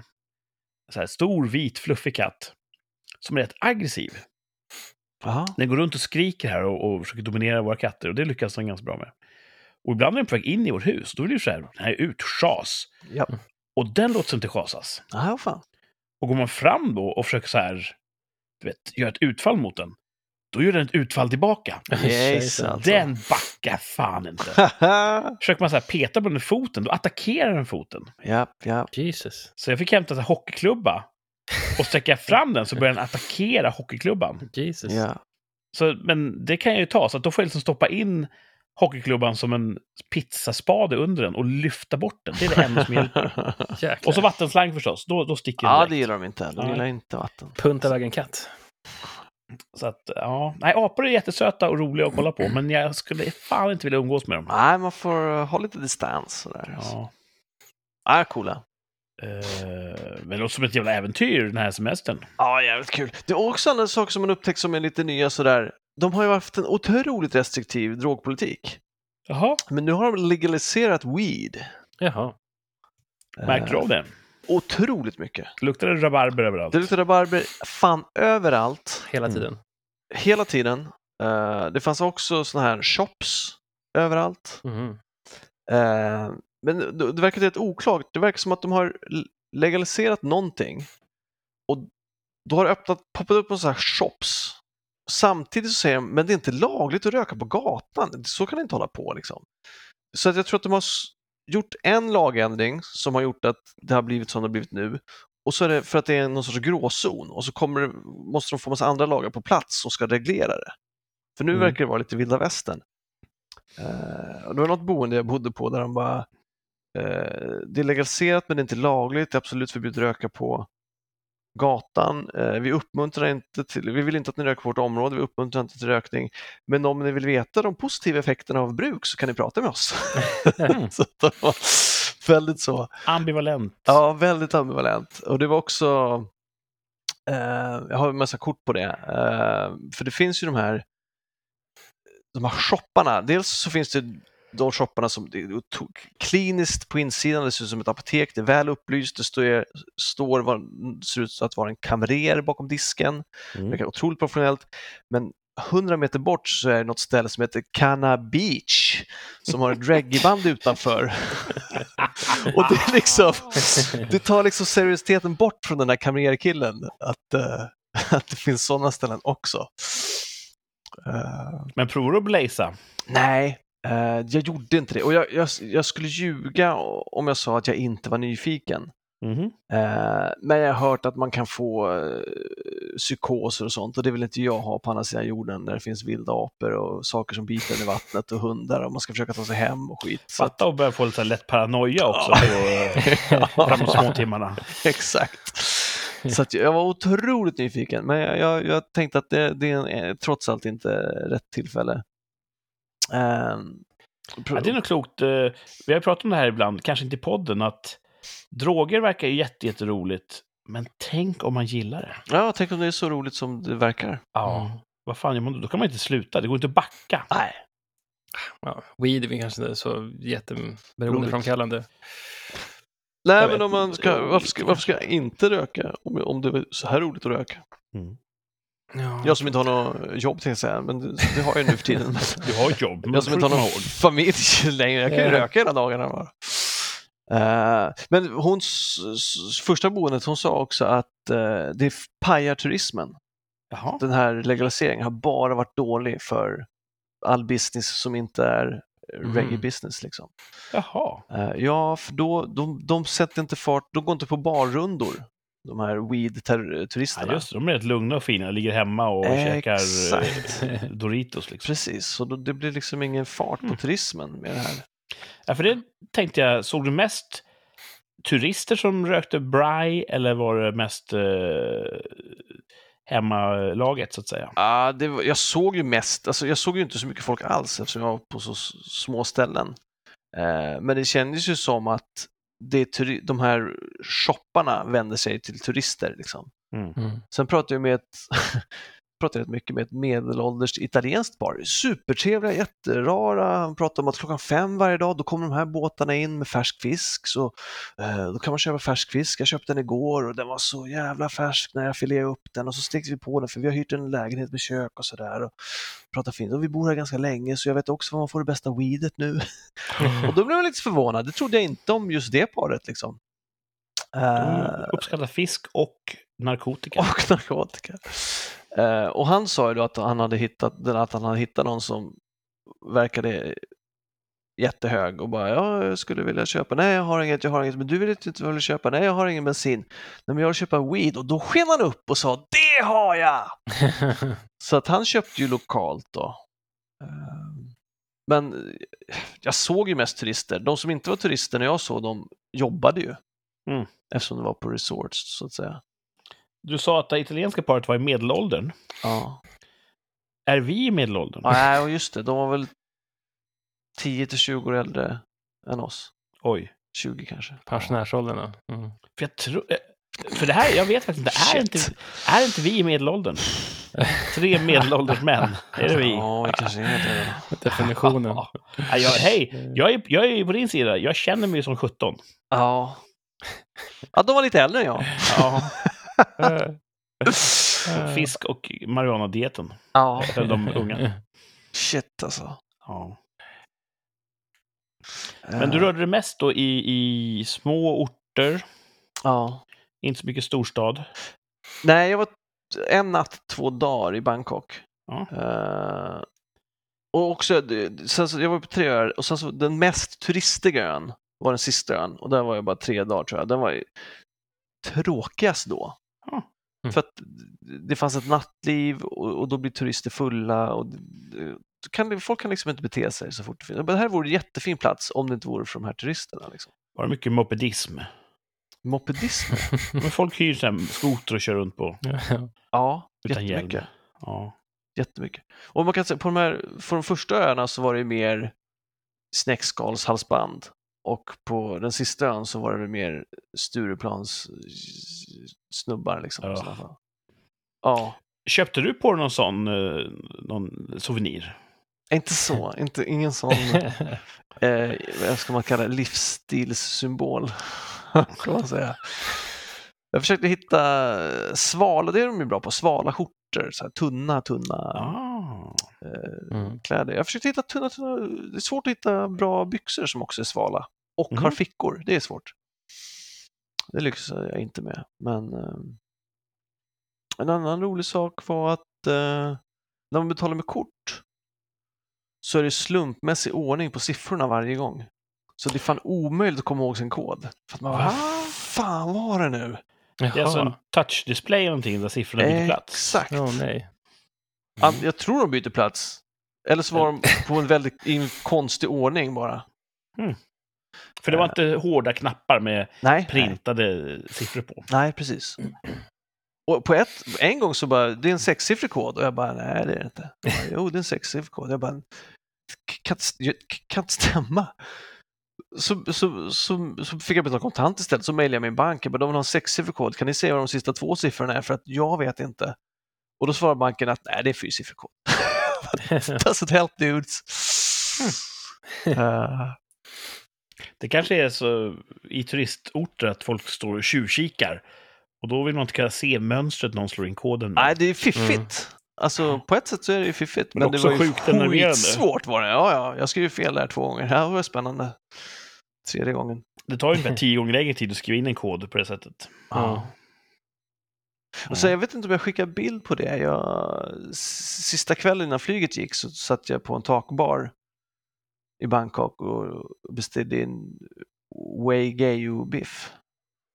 A: Så här, stor, vit, fluffig katt. Som är rätt aggressiv.
C: Jaha.
A: Den går runt och skriker här och, och försöker dominera våra katter och det lyckas den ganska bra med. Och ibland är den på väg in i vårt hus. Då vill du så här, den här är ut, schas.
C: Ja.
A: Och den låter sig inte schasas.
C: Ja, fan. *laughs*
A: Och går man fram då och försöker så här, du vet, göra ett utfall mot den. Då gör den ett utfall tillbaka.
C: Jejsan. Alltså.
A: Den backar fan
C: *laughs*
A: inte. Försöker man så här peta på den med foten, då attackerar den foten.
C: ja, ja.
B: Jesus.
A: Så jag fick hämta en hockeyklubba och sträcka fram den så började den attackera hockeyklubban.
B: Jesus.
C: ja.
A: Så, men det kan jag ju ta, så att då får jag liksom stoppa in hockeyklubban som en pizzaspade under den och lyfta bort den. Det är det enda som
C: *laughs*
A: hjälper.
B: Jäklar.
A: Och så vattenslang förstås, då, då sticker den
C: ja, det
A: direkt.
C: gillar de inte heller. De
A: Nej.
C: gillar inte vatten.
B: Punta iväg en katt.
A: Så att, ja. Nej, apor är jättesöta och roliga att kolla på, men jag skulle fan inte vilja umgås med dem.
C: Nej, man får eh, ha lite distans sådär. Ja.
A: Ja.
C: Ah, coola.
A: Eh, men det låter som ett jävla äventyr den här semestern.
C: Ja, jävligt kul. Det är också en annan sak som man upptäckt som är lite nya sådär. De har ju haft en otroligt restriktiv drogpolitik.
A: Jaha,
C: Men nu har de legaliserat weed.
B: Jaha.
A: märkte du
C: Eh,
A: av det?
C: Otroligt mycket.
A: Luktade det rabarber överallt?
C: Det luktar rabarber fan överallt.
B: Hela
A: Mm.
B: tiden.
C: Hela tiden. Eh, det fanns också sådana här shops överallt.
B: Mhm.
C: Eh, men det, det verkar rätt oklart. Det verkar som att de har l- legaliserat någonting och då har det öppnat, poppat upp en sån här shops. Samtidigt så säger de, men det är inte lagligt att röka på gatan. Så kan det inte hålla på liksom. Så att jag tror att de har s- gjort en lagändring som har gjort att det har blivit som det har blivit nu. Och så är det för att det är någon sorts gråzon och så kommer, det- måste de få massa andra lagar på plats som ska reglera det. För nu
B: Mm.
C: verkar det vara lite vilda västern. Eh, och det var något boende jag bodde på där de bara, eh, det är legaliserat men det är inte lagligt, det är absolut förbjudet att röka på gatan. Eh, vi uppmuntrar inte till, vi vill inte att ni röker på vårt område, vi uppmuntrar inte till rökning. Men om ni vill veta de positiva effekterna av bruk så kan ni prata med oss. *laughs*
B: Mm.
C: så att det var väldigt så.
A: Ambivalent.
C: Ja, väldigt ambivalent. Och det var också, eh, jag har en massa kort på det, eh, för det finns ju de här, de här shopparna. Dels så finns det de shopparna som det är to- kliniskt på insidan, det ser ut som ett apotek, det är väl upplyst, det står, står vad, ser ut att vara en kamrer bakom disken,
A: Mm.
C: verkar otroligt professionellt. Men 100 meter bort så är det något ställe som heter Cana Beach som har
A: *laughs*
C: ett reggaeband utanför. Och det är liksom, *laughs* det tar liksom seriositeten bort från den där kamrerkillen, att, eh, *laughs* att det finns sådana ställen också. Eh,
A: Men provar du att blaza?
C: nej, eh, jag gjorde inte det. Och jag, jag, jag skulle ljuga om jag sa att jag inte var nyfiken.
A: Mhm.
C: Eh, men jag har hört att man kan få eh, psykoser och sånt och det vill inte jag ha på andra sidan jorden där det finns vilda apor och saker som biter en i vattnet och hundar och man ska försöka ta sig hem och skit. Så att,
A: Fatta och börja få lite så här lätt paranoia också på
C: *laughs*
A: de små timmarna.
C: exakt. Så att jag var otroligt nyfiken men jag, jag, jag tänkte att det, det är en- eh, trots allt inte rätt tillfälle. Ehm,
A: Ja, det är nog klokt. Eh, Vi har ju pratat om det här ibland, kanske inte i podden, att droger verkar ju jätte, jätteroligt. Men tänk om man gillar det.
C: Ja, tänk om det är så roligt som det verkar.
A: Ja. Vad fan gör man då? Då kan man inte sluta. Det går inte att backa.
C: Nej,
B: *laughs* Ja, weed är väl kanske inte så jätteberoendeframkallande.
C: Nej
B: Jag
C: men
B: vet
C: om man
B: inte.
C: ska, varför, ska, varför ska jag inte röka om, om det är så här roligt att röka?
B: Ja.
C: Jag som inte har något jobb tänkte jag säga, men det, det har jag nu för
B: *laughs*
C: tiden.
A: Du har ett jobb. men
C: jag som inte har
A: får
C: någon
A: komma ihåg.
C: familj *laughs* längre, jag kan ju
B: Ja.
C: röka hela dagarna bara. Eh, men hon, s- s- första boendet, hon sa också att eh, det pajar turismen.
A: Jaha.
C: Den här legaliseringen har bara varit dålig för all business som inte är
B: Mhm.
C: reggae
A: Mm.
C: business. Liksom.
A: Jaha.
C: Eh, Ja, för då, de, de sätter inte fart, de går inte på barrundor, de här
A: Ja,
C: weed-turisterna.
A: just det. De är rätt lugna och fina. Ligger hemma och käkar eh,
C: Exakt.
A: *laughs* Doritos. Liksom.
C: Precis, så då, det blir liksom ingen fart på
A: Mm.
C: turismen med det här.
A: Ja, för det tänkte jag, såg du mest turister som rökte braj eller var det mest eh, hemmalaget så att säga?
C: Ja, det var, jag såg ju mest, alltså jag såg ju inte så mycket folk alls eftersom jag var på så s- små ställen. Eh, men det kändes ju som att det är turi- de här shopparna vänder sig till turister. Liksom.
B: *laughs* Mm.
C: Sen pratade jag med ett *laughs* pratade rätt mycket med ett medelålders italienskt par. Supertrevliga, jätterara. Han pratade om att klockan fem varje dag då kommer de här båtarna in med färsk fisk. Så, eh, då kan man köpa färsk fisk. Jag köpte den igår och den var så jävla färsk när jag fileade upp den och så stekte vi på den för vi har hyrt en lägenhet med kök och sådär. Och pratade fint. Och vi bor här ganska länge så jag vet också var man får det bästa weedet nu. *laughs* och då blev jag lite förvånad. Det trodde jag inte om just det paret liksom. Eh,
A: De uppskattar Mm, fisk och narkotika.
C: *laughs* och narkotika. Eh, och han sa ju då att han hade hittat, att han hade hittat någon som verkade jättehög och bara "Ja, jag skulle vilja köpa, nej jag har inget, jag har inget, men du vet inte vad jag vill köpa, nej jag har ingen bensin, nej men jag vill köpa weed och då sken han upp och sa det har jag! Så att han köpte ju lokalt då. Eh, Men eh, jag såg ju mest turister. De som inte var turister när jag såg dem jobbade ju.
A: Mm.
C: Eftersom det var på resorts så att säga.
A: Du sa att det italienska paret var i medelåldern.
C: Ja.
A: Är vi i medelåldern?
C: Ja, nej, och just det. De var väl 10 till 20 år äldre än oss.
A: Oj.
C: 20 kanske.
B: Pensionärsåldern, ja. Mm.
A: För jag tror... eh, För det här, jag vet faktiskt inte. Är
C: Shit.
A: inte, är inte vi i medelåldern? Tre medelålders
C: *laughs*
A: män. Är det vi?
C: Ja, vi kanske är det. då.
B: *laughs* *laughs* Definitionen.
A: Ja, jag,
C: Mm.
A: hej, jag är, jag är på din sida. Jag känner mig som 17.
C: Ja. Ja, de var lite äldre än jag.
A: Ja.
B: Eh,
A: Fisk och marijuana-dieten.
C: Ja,
A: För de
C: *laughs*
A: unga.
B: *laughs*
C: shit alltså.
A: Ja. Men
C: Eh.
A: du rörde dig mest då i, i små orter,
C: Ja.
A: inte så mycket storstad.
C: Nej, jag var t- en natt, två dagar i Bangkok.
A: Ja.
C: Eh, och också, det- sen så, jag var på tre öar och sen så den mest turistiga ön var den sista ön och där var jag bara tre dagar tror jag. Den var ju tråkigast då.
A: Ja.
B: Mm.
C: För att det fanns ett nattliv och, och då blir turister fulla och det, kan, det- folk kan liksom inte bete sig så fort det finns. Men det här vore en jättefin plats om det inte vore för de här turisterna. Liksom.
A: Var det mycket mopedism?
C: Mopedism?
A: Men folk hyr sån här skoter och kör runt på
C: Ja,
A: utan hjälm.
C: jättemycket.
A: Ja.
C: jättemycket. Och man kan säga, på de, här, på de första öarna så var det ju mer snäckskalshalsband och på den sista ön så var det väl mer Stureplans snubbar liksom.
A: Ja.
C: i sådana fall. ja.
A: Köpte du på dig någon sån eh, någon souvenir?
C: Inte så, inte,
B: *laughs*
C: ingen sån, eh, vad ska man kalla det, livsstilssymbol, *laughs* kan man säga. Jag försökte hitta eh, svala, det är de ju bra på, svala skjortor, så här tunna, tunna
A: Ah.
C: eh,
B: *laughs* Mm.
C: kläder. Jag försökte hitta tunna, tunna, det är svårt att hitta bra byxor som också är svala och
A: Mhm.
C: har fickor, det är svårt. Det lyckas jag inte med, men eh, en annan rolig sak var att eh, när man betalar med kort så är det slumpmässig ordning på siffrorna varje gång. Så det är fan omöjligt att komma ihåg sin kod. För att man bara,
A: Va?
C: "Ah, fan var det nu?
A: Det är alltså en
B: Jaha.
A: touchdisplay eller någonting där siffrorna byter plats.
C: Exakt.
B: Åh nej.
C: An- Jag tror de byter plats. Eller så var de på en väldigt i en konstig ordning bara.
A: För det var inte hårda knappar med
C: Nej, nej.
A: printade siffror på.
C: Nej, precis. Och på ett, en gång så bara, det är en sexsiffrig kod och jag bara, nej det är det inte. Jag Bara, jo, det är en sexsiffrig kod. Jag bara, "K- kan, inte st- jag- k- kan inte stämma. Så, så, så, så fick jag betala kontant istället, så mejlade jag min bank. Jag bara, de vill ha en sexsiffrig kod, kan ni se vad de sista två siffrorna är? För att jag vet inte. Och då svarar banken att, nej det är fyrsiffrig kod. *laughs* Alltså, Doesn't help dudes. Eh,
A: Det kanske är så i turistorter att folk står och tjuvkikar. Och då vill man inte kunna se mönstret någon slår in koden med.
C: Nej, det är fiffigt.
B: Mm.
C: Alltså på ett sätt så är det ju fiffigt.
A: Men
C: Men,
A: också
C: det var ju
A: sjukt enerverande.
C: svårt var det. Ja, ja, jag skrev ju fel där två gånger. Det här var spännande. Tredje gången.
A: Det tar ju
C: *laughs*
A: ungefär tio gånger längre tid att skriva in en kod på det sättet.
B: *laughs* Ja.
C: Och
A: Mm.
C: så jag vet inte om jag skickade bild på det. Jag, s- sista kvällen innan flyget gick så satt jag på en takbar i Bangkok och beställde en Wei-Gayu-biff.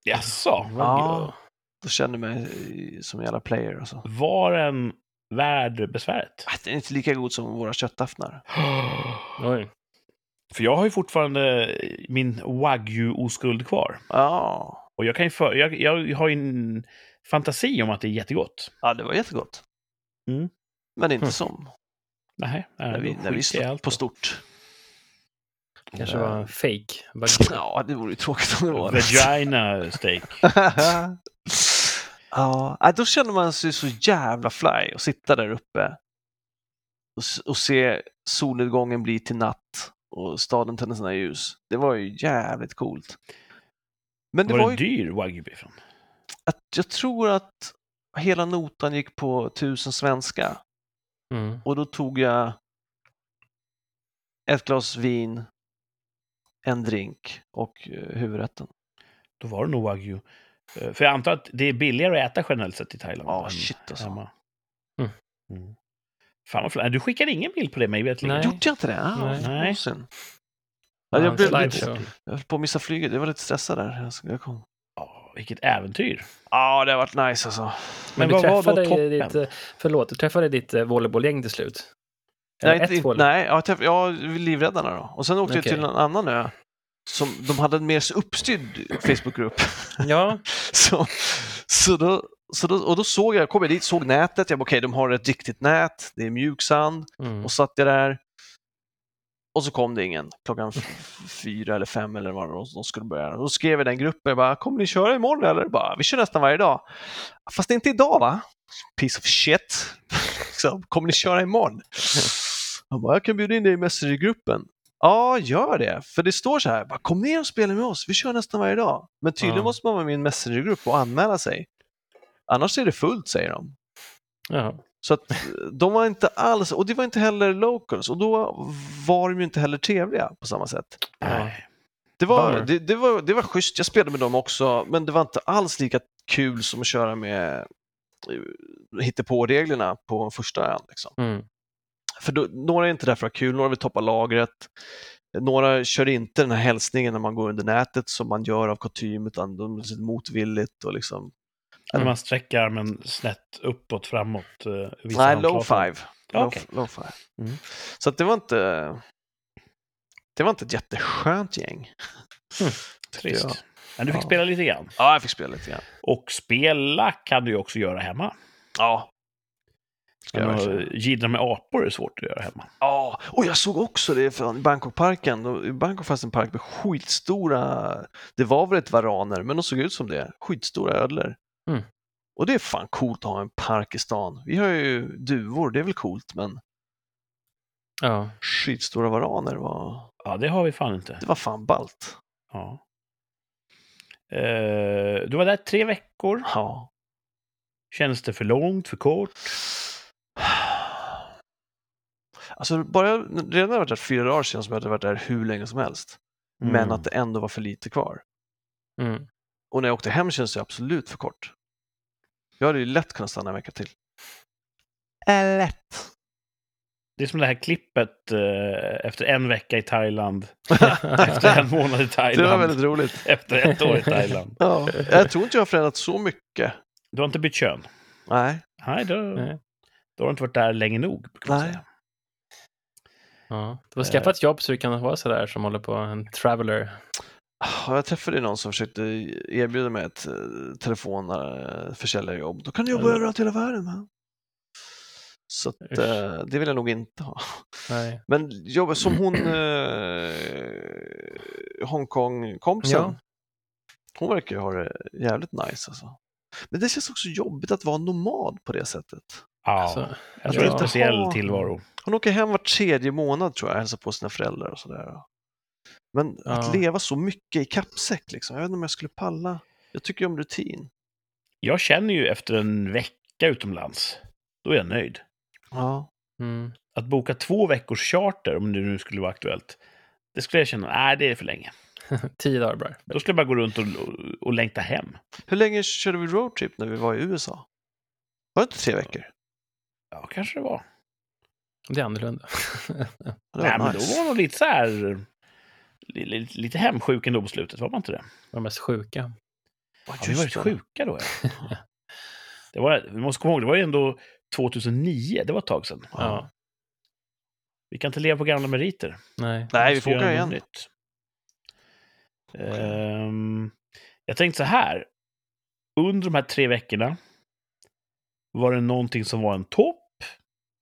A: Jaså?
C: Ja. Då kände jag mig som en jävla player och så.
A: Var den värd besväret?
C: Ah, Den är inte lika god som våra köttaftnar.
B: Oj.
A: För jag har ju fortfarande min wagyu-oskuld kvar.
C: Ja,
A: Och jag, kan ju för, jag, jag har ju en fantasi om att det är jättegott.
C: ja det var jättegott.
A: Mm.
C: Men inte
B: Mm.
C: som
A: Nej, nej
C: när vi,
A: då
C: när
A: skiter
C: vi
A: jag i
C: slog
A: allt
C: på
A: då.
C: stort.
B: Kanske
C: Ja.
B: var en fake. Bara-
C: Ja, det vore ju tråkigt om det var det.
A: Vagina
C: *laughs*
A: steak.
C: ja, nej, då känner man sig så jävla fly och sitta där uppe och, s- och se solnedgången bli till natt och staden tända sina ljus. Det var ju jävligt coolt. Men det
A: Var
C: var
A: den
C: ju
A: dyr, wagyu-biffen?
C: att jag tror att hela notan gick på tusen svenska
B: Mm.
C: och då tog jag ett glas vin, en drink och eh, huvudrätten.
A: Då var det nog wagyu. Eh, För jag antar att det är billigare att äta generellt sett i Thailand.
C: Ja,
A: än
C: shit alltså.
A: hemma.
B: Mm.
A: Mm. Fan vad förlåt. Du skickade ingen bild på det mig veterligen.
B: Nej.
C: Gjorde jag inte det? Ah,
B: Nej.
A: Nej.
C: vad synd. Ja,
B: Ja,
C: jag,
B: en
C: blev lite,
B: slideshow.
C: jag höll på att missa flyget, jag var lite stressad där. Jag- Jag kom.
A: Ja, vilket äventyr.
C: Ja, det har varit nice alltså.
A: Men
B: Men, du
A: vad var då
B: träffade
A: toppen?
B: ditt, eh, förlåt, du träffade ditt eh, volleybollgäng till slut? Eller
C: Nej, inte,
B: ett
C: inte-
B: volley-
C: nej jag, träff, ja, livräddarna då. Och sen åkte
B: Okej.
C: jag till en annan ö. Som, de hade en mer uppstyrd Facebookgrupp. *laughs*
B: Ja,
C: Så, så då, så då, och då såg jag, kom jag dit, såg nätet. Jag bara, okej, de har ett riktigt nät, det är mjuk sand.
B: mm.
C: Och satt jag där. Och så kom det ingen klockan f- fyra eller fem eller vad det var, de skulle börja. Då skrev jag i den gruppen, jag bara, kommer ni köra imorgon eller? Bara, vi kör nästan varje dag. Fast inte idag va? Piece of shit. *laughs* Liksom, kommer ni köra imorgon? Jag bara, jag kan bjuda in dig i Messenger-gruppen. Ja, gör det. För det står så här, bara, kom ner och spela med oss, vi kör nästan varje dag. Men tydligen
B: Ja.
C: måste man vara med i en Messenger-grupp och anmäla sig. Annars är det fullt, säger de.
B: ja.
C: Så att eh, de var inte alls, och det var inte heller locals, och då var de ju inte heller trevliga på samma sätt.
A: Nej.
C: Det var,
B: Bummer.
C: det, det var, det var schysst, jag spelade med dem också, men det var inte alls lika kul som att köra med eh, hittepåreglerna på första ön. Liksom.
B: Mm.
C: För då, några är inte där för att ha kul, några vill toppa lagret, några kör inte den här hälsningen när man går under nätet som man gör av kutym, utan de är lite motvilligt och liksom
A: När man sträcker armen snett uppåt, framåt. eh, visar
C: Nej,
A: handflatan.
C: low five. Low,
A: Okej.
C: low five.
A: Mm.
C: Så att det var inte... Det var inte ett jätteskönt gäng. *laughs* tyckte
A: Mm, Trist.
C: jag.
A: Men du fick
C: Ja.
A: spela lite grann.
C: Ja, jag fick spela lite grann.
A: Och spela kan du ju också göra hemma.
C: Ja. Ska jag
A: Men
C: verkligen.
A: att Gidra med apor är svårt att göra hemma.
C: Ja, och jag såg också det från Bangkokparken. Då- I Bangkok fanns en park med skitstora, det var väl ett varaner, men de såg ut som det, skitstora ödlor.
B: Mm.
C: Och det är fan coolt att ha en park i stan. Vi har ju duvor, det är väl coolt, men
B: Ja.
C: skitstora varaner var,
A: Ja, det har vi fan inte.
C: det var fan ballt.
A: Ja. Eh, du var där tre veckor.
C: Ja.
A: Känns det för långt, för kort?
C: Alltså, bara jag, redan när jag hade varit där fyra dagar sedan som jag hade varit där hur länge som helst, men
A: Mm.
C: att det ändå var för lite kvar.
B: Mm.
C: Och när jag åkte hem kändes det absolut för kort. Jag hade ju lätt kunnat stanna en vecka till. Lätt.
A: Det är som det här klippet eh, efter en vecka i
C: *laughs*
A: Thailand, efter en månad i
C: Det var
A: Thailand,
C: väldigt roligt.
A: *laughs* efter ett
C: *laughs*
A: år i Thailand.
C: Ja. Jag tror inte jag har förändrats så mycket.
A: Du har inte bytt kön?
C: Nej.
A: Nej, då,
B: Nej.
A: då har du inte varit där länge nog. brukar man
C: Nej.
A: säga.
B: ja. Du får skaffa ett jobb så du kan vara sådär som håller på en traveler.
C: Ah, Jag träffade någon som försökte erbjuda mig ett eh, telefonförsäljarjobb. Då kan du jobba
B: Mm.
C: överallt i hela världen. Man. Så att,
B: Usch.
C: eh, det vill jag nog inte ha.
B: Nej.
C: Men jobb, som hon eh, Hongkong-kompisen.
B: Ja.
C: Hon verkar ju ha det jävligt nice alltså. Men det känns också jobbigt att vara nomad på det sättet.
A: Ja,
B: Alltså,
A: jag tror det är en
B: ja.
A: speciell tillvaro.
C: Hon åker hem var tredje månad tror jag, hälsar på sina föräldrar och sådär. Men
B: Ja.
C: att leva så mycket i kappsäck, liksom. jag vet inte om jag skulle palla. Jag tycker ju om rutin.
A: Jag känner ju efter en vecka utomlands, då är jag nöjd.
C: Ja.
B: Mm.
A: Att boka två veckors charter, om det nu skulle vara aktuellt, det skulle jag känna, nej, det är för länge.
B: Tio dagar bara.
A: Då skulle jag bara gå runt och, och längta hem.
C: Hur länge körde vi roadtrip när vi var i USA? Var det inte tre veckor?
A: Ja, kanske det var.
B: Det är annorlunda. *laughs*
C: Ja, Det
A: Nej,
C: var
A: men då
C: nice.
A: var man nog lite så här... li- li- Lite hemsjuk ändå på slutet, var man inte det?
B: De mest sjuka.
C: Ja,
A: Har vi
C: just
A: varit
C: det.
A: sjuka då? Ja. *laughs* Det var, vi måste komma ihåg, det var ju ändå 2009, det var ett tag sedan.
B: Ja.
A: Vi kan inte leva på gamla meriter.
B: Nej.
C: Nej,
A: Vi
C: vi
A: måste
C: får åka
A: göra
C: igen.
A: något nytt. Ehm, jag tänkte så här. Under de här tre veckorna var det någonting som var en topp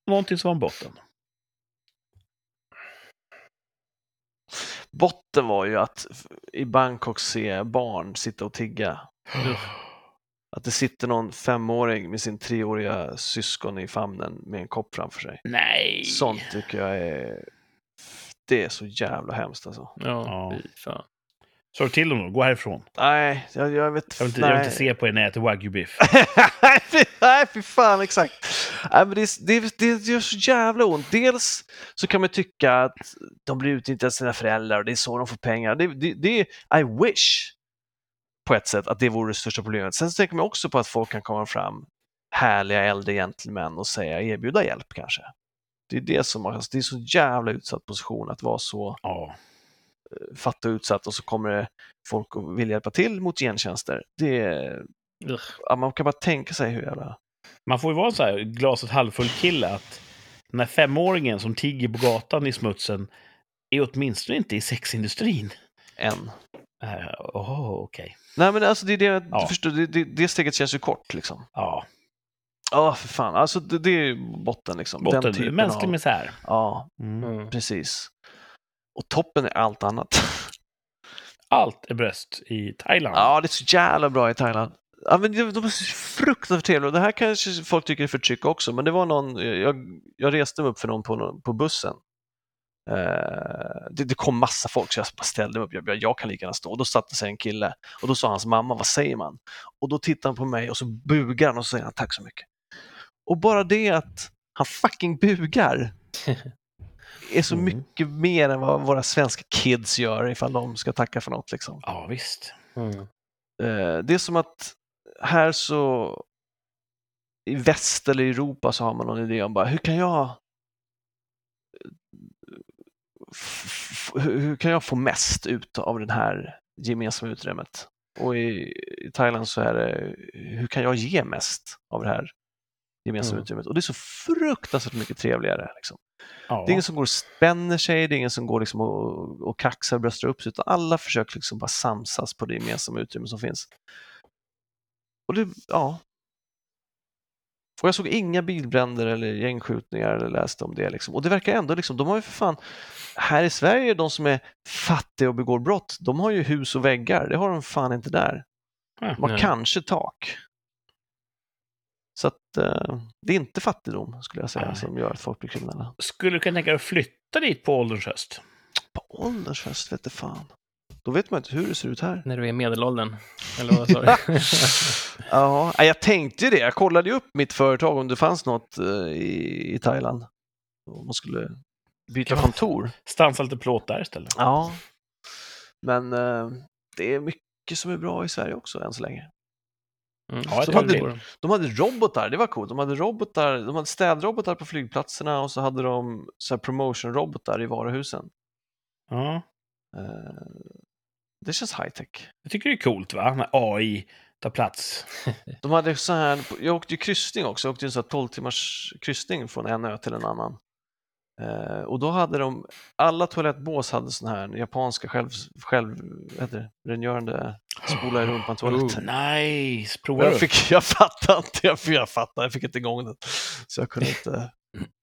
A: och någonting som var en
C: *gasps*
A: botten.
C: Botten var ju att f- i Bangkok se barn sitta och tigga. Att det sitter någon femåring med sin treåriga syskon i famnen med en kopp framför sig.
A: Nej!
C: Sånt tycker jag är... Det är så jävla hemskt alltså.
B: Ja,
A: Ja.
B: fy fan.
A: Sa du till dem då? Gå härifrån.
C: Nej, jag, jag vet
A: Jag vill inte,
C: nej.
A: jag vill inte se på er när jag äter
C: *laughs*
A: wagyu-biff.
C: Nej, fy- nej, fy fan, exakt. Nej, men det, är- det, är- det gör så jävla ont. Dels så kan man tycka att de blir utnyttjade av sina föräldrar och det är så de får pengar. Det, det, det är I wish på ett sätt att det vore det största problemet. Sen så tänker man också på att folk kan komma fram, härliga äldre gentlemän och säga erbjuda hjälp kanske. Det är det som alltså, det är så jävla utsatt position att vara så
A: Ja.
C: fattig och utsatt och så kommer det folk att vilja hjälpa till mot gentjänster. Det är
B: Ugh.
C: ja, man kan bara tänka sig hur jävla...
A: Man får ju vara en så här glaset halvfull kille att den här femåringen som tigger på gatan i smutsen är åtminstone inte i sexindustrin.
C: En.
A: Äh, Åh, okej.
C: Nej men alltså det är det jag
A: Ja.
C: förstår, det, det, det steget känns ju kort liksom.
A: Ja,
C: Ja, för fan. Alltså det, det är ju botten liksom. Den
A: botten.
C: typen
A: Mänsklig
C: av...
A: misär.
C: Ja,
A: Mm.
B: Mm.
C: precis. Och toppen är allt annat. *laughs*
A: Allt är bröst i Thailand.
C: Ja, det är så jävla bra i Thailand. Ja, men de de är så fruktansvärt trevliga. Och Det här kanske folk tycker är förtryck också, men det var någon, jag, jag reste mig upp för någon på, någon- på bussen. Eh, det, det kom massa folk så jag bara ställde mig upp. Jag, bara, jag kan lika gärna stå. Och då satte sig en kille och då sa hans mamma, vad säger man? Och då tittar han på mig och så bugar han och så säger han tack så mycket. Och bara det att han
A: *laughs*
C: fucking bugar är så
A: Mm.
C: mycket mer än vad våra svenska kids gör ifall de ska tacka för något. Liksom.
A: ja visst.
B: Mm.
C: Eh, Det är som att här så i väst eller i Europa så har man någon idé om bara hur kan jag f- f- hur hur kan jag få mest ut av det här gemensamma utrymmet? Och i, i Thailand så är det, hur kan jag ge mest av det här gemensamma
B: Mm.
C: utrymmet? Och det är så fruktansvärt mycket trevligare. Liksom.
A: Ja.
C: Det är ingen som går och spänner sig, det är ingen som går liksom och, och kaxar och bröstar upp sig, utan alla försöker liksom bara samsas på det gemensamma utrymme som finns. Och det, ja. Och jag såg inga bilbränder eller gängskjutningar eller läste om det. Liksom. Och det verkar ändå, liksom, de har ju för fan, här i Sverige, de som är fattiga och begår brott, de har ju hus och väggar, det har de fan inte där.
A: Nej.
C: De har
B: Nej.
C: kanske tak. Så att, eh, det är inte fattigdom, skulle jag säga,
A: Nej.
C: som gör att folk blir kriminella.
A: Skulle du kunna tänka dig att flytta dit på ålderns höst?
C: På ålderns höst vete fan. Då vet man inte hur det ser
B: *laughs*
C: ut här.
B: När du är medelåldern. Eller vad sa du?
C: ja, nej, jag tänkte ju det. Jag kollade ju upp mitt företag om det fanns något eh, i, i Thailand. Om man skulle byta
A: Ja.
C: kontor.
A: Stansa lite plåt där istället.
C: Ja. Men eh, det är mycket som är bra i Sverige också än så länge.
B: Mm,
A: Ja, jag
B: så
A: tror
B: är
A: det.
B: på dem.
C: De hade robotar, det var coolt. De hade robotar, de hade städrobotar på flygplatserna och så hade de så här promotion-robotar i varuhusen.
A: Ja.
C: Eh, det känns high-tech.
A: Jag tycker det är coolt, va? När AI tar plats.
C: De hade så här, jag åkte ju kryssning också, jag åkte ju en så här 12 timmars kryssning från en ö till en annan. Eh, och då hade de, alla toalettbås hade sådana här japanska själv, själv vad heter det, rengörande spola i rumpan toaletter.
A: Nice! Provar
C: Jag,
A: du?
C: fick, jag fattade inte, jag, för jag fattade, jag fick inte igång den. Så jag kunde inte,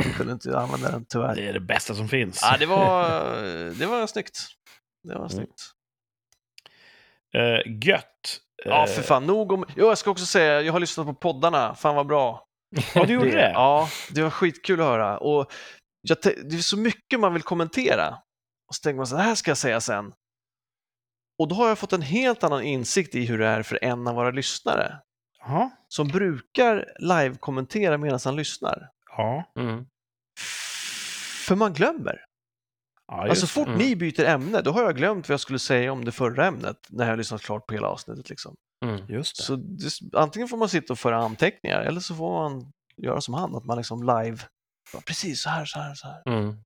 C: jag kunde inte använda den tyvärr.
A: Det är det bästa som finns.
C: Ja, det, var, det var snyggt. Det var snyggt.
A: Eh, gött!
C: Ja,
A: Eh,
C: för fan, nog om... Jo, jag ska också säga, jag har lyssnat på poddarna, fan vad bra.
A: Eh, Ja, du gjorde det?
C: Ja, det var skitkul att höra. Och jag, te- det är så mycket man vill kommentera. Och så tänker man så här, "Det här ska jag säga sen. Och då har jag fått en helt annan insikt i hur det är för en av våra lyssnare
A: Ja.
C: som brukar live-kommentera medan han lyssnar.
A: Ja.
B: Mm.
C: För man glömmer.
A: ja just
C: alltså fort
B: Mm.
C: ni byter ämne, då har jag glömt vad jag skulle säga om det förra ämnet när jag har lyssnat klart på hela avsnittet. Liksom.
B: Mm.
A: Just det.
C: Så det, antingen får man sitta och föra anteckningar eller så får man göra som han, att man liksom live, bara, precis så här, så här, så här.
B: Mm.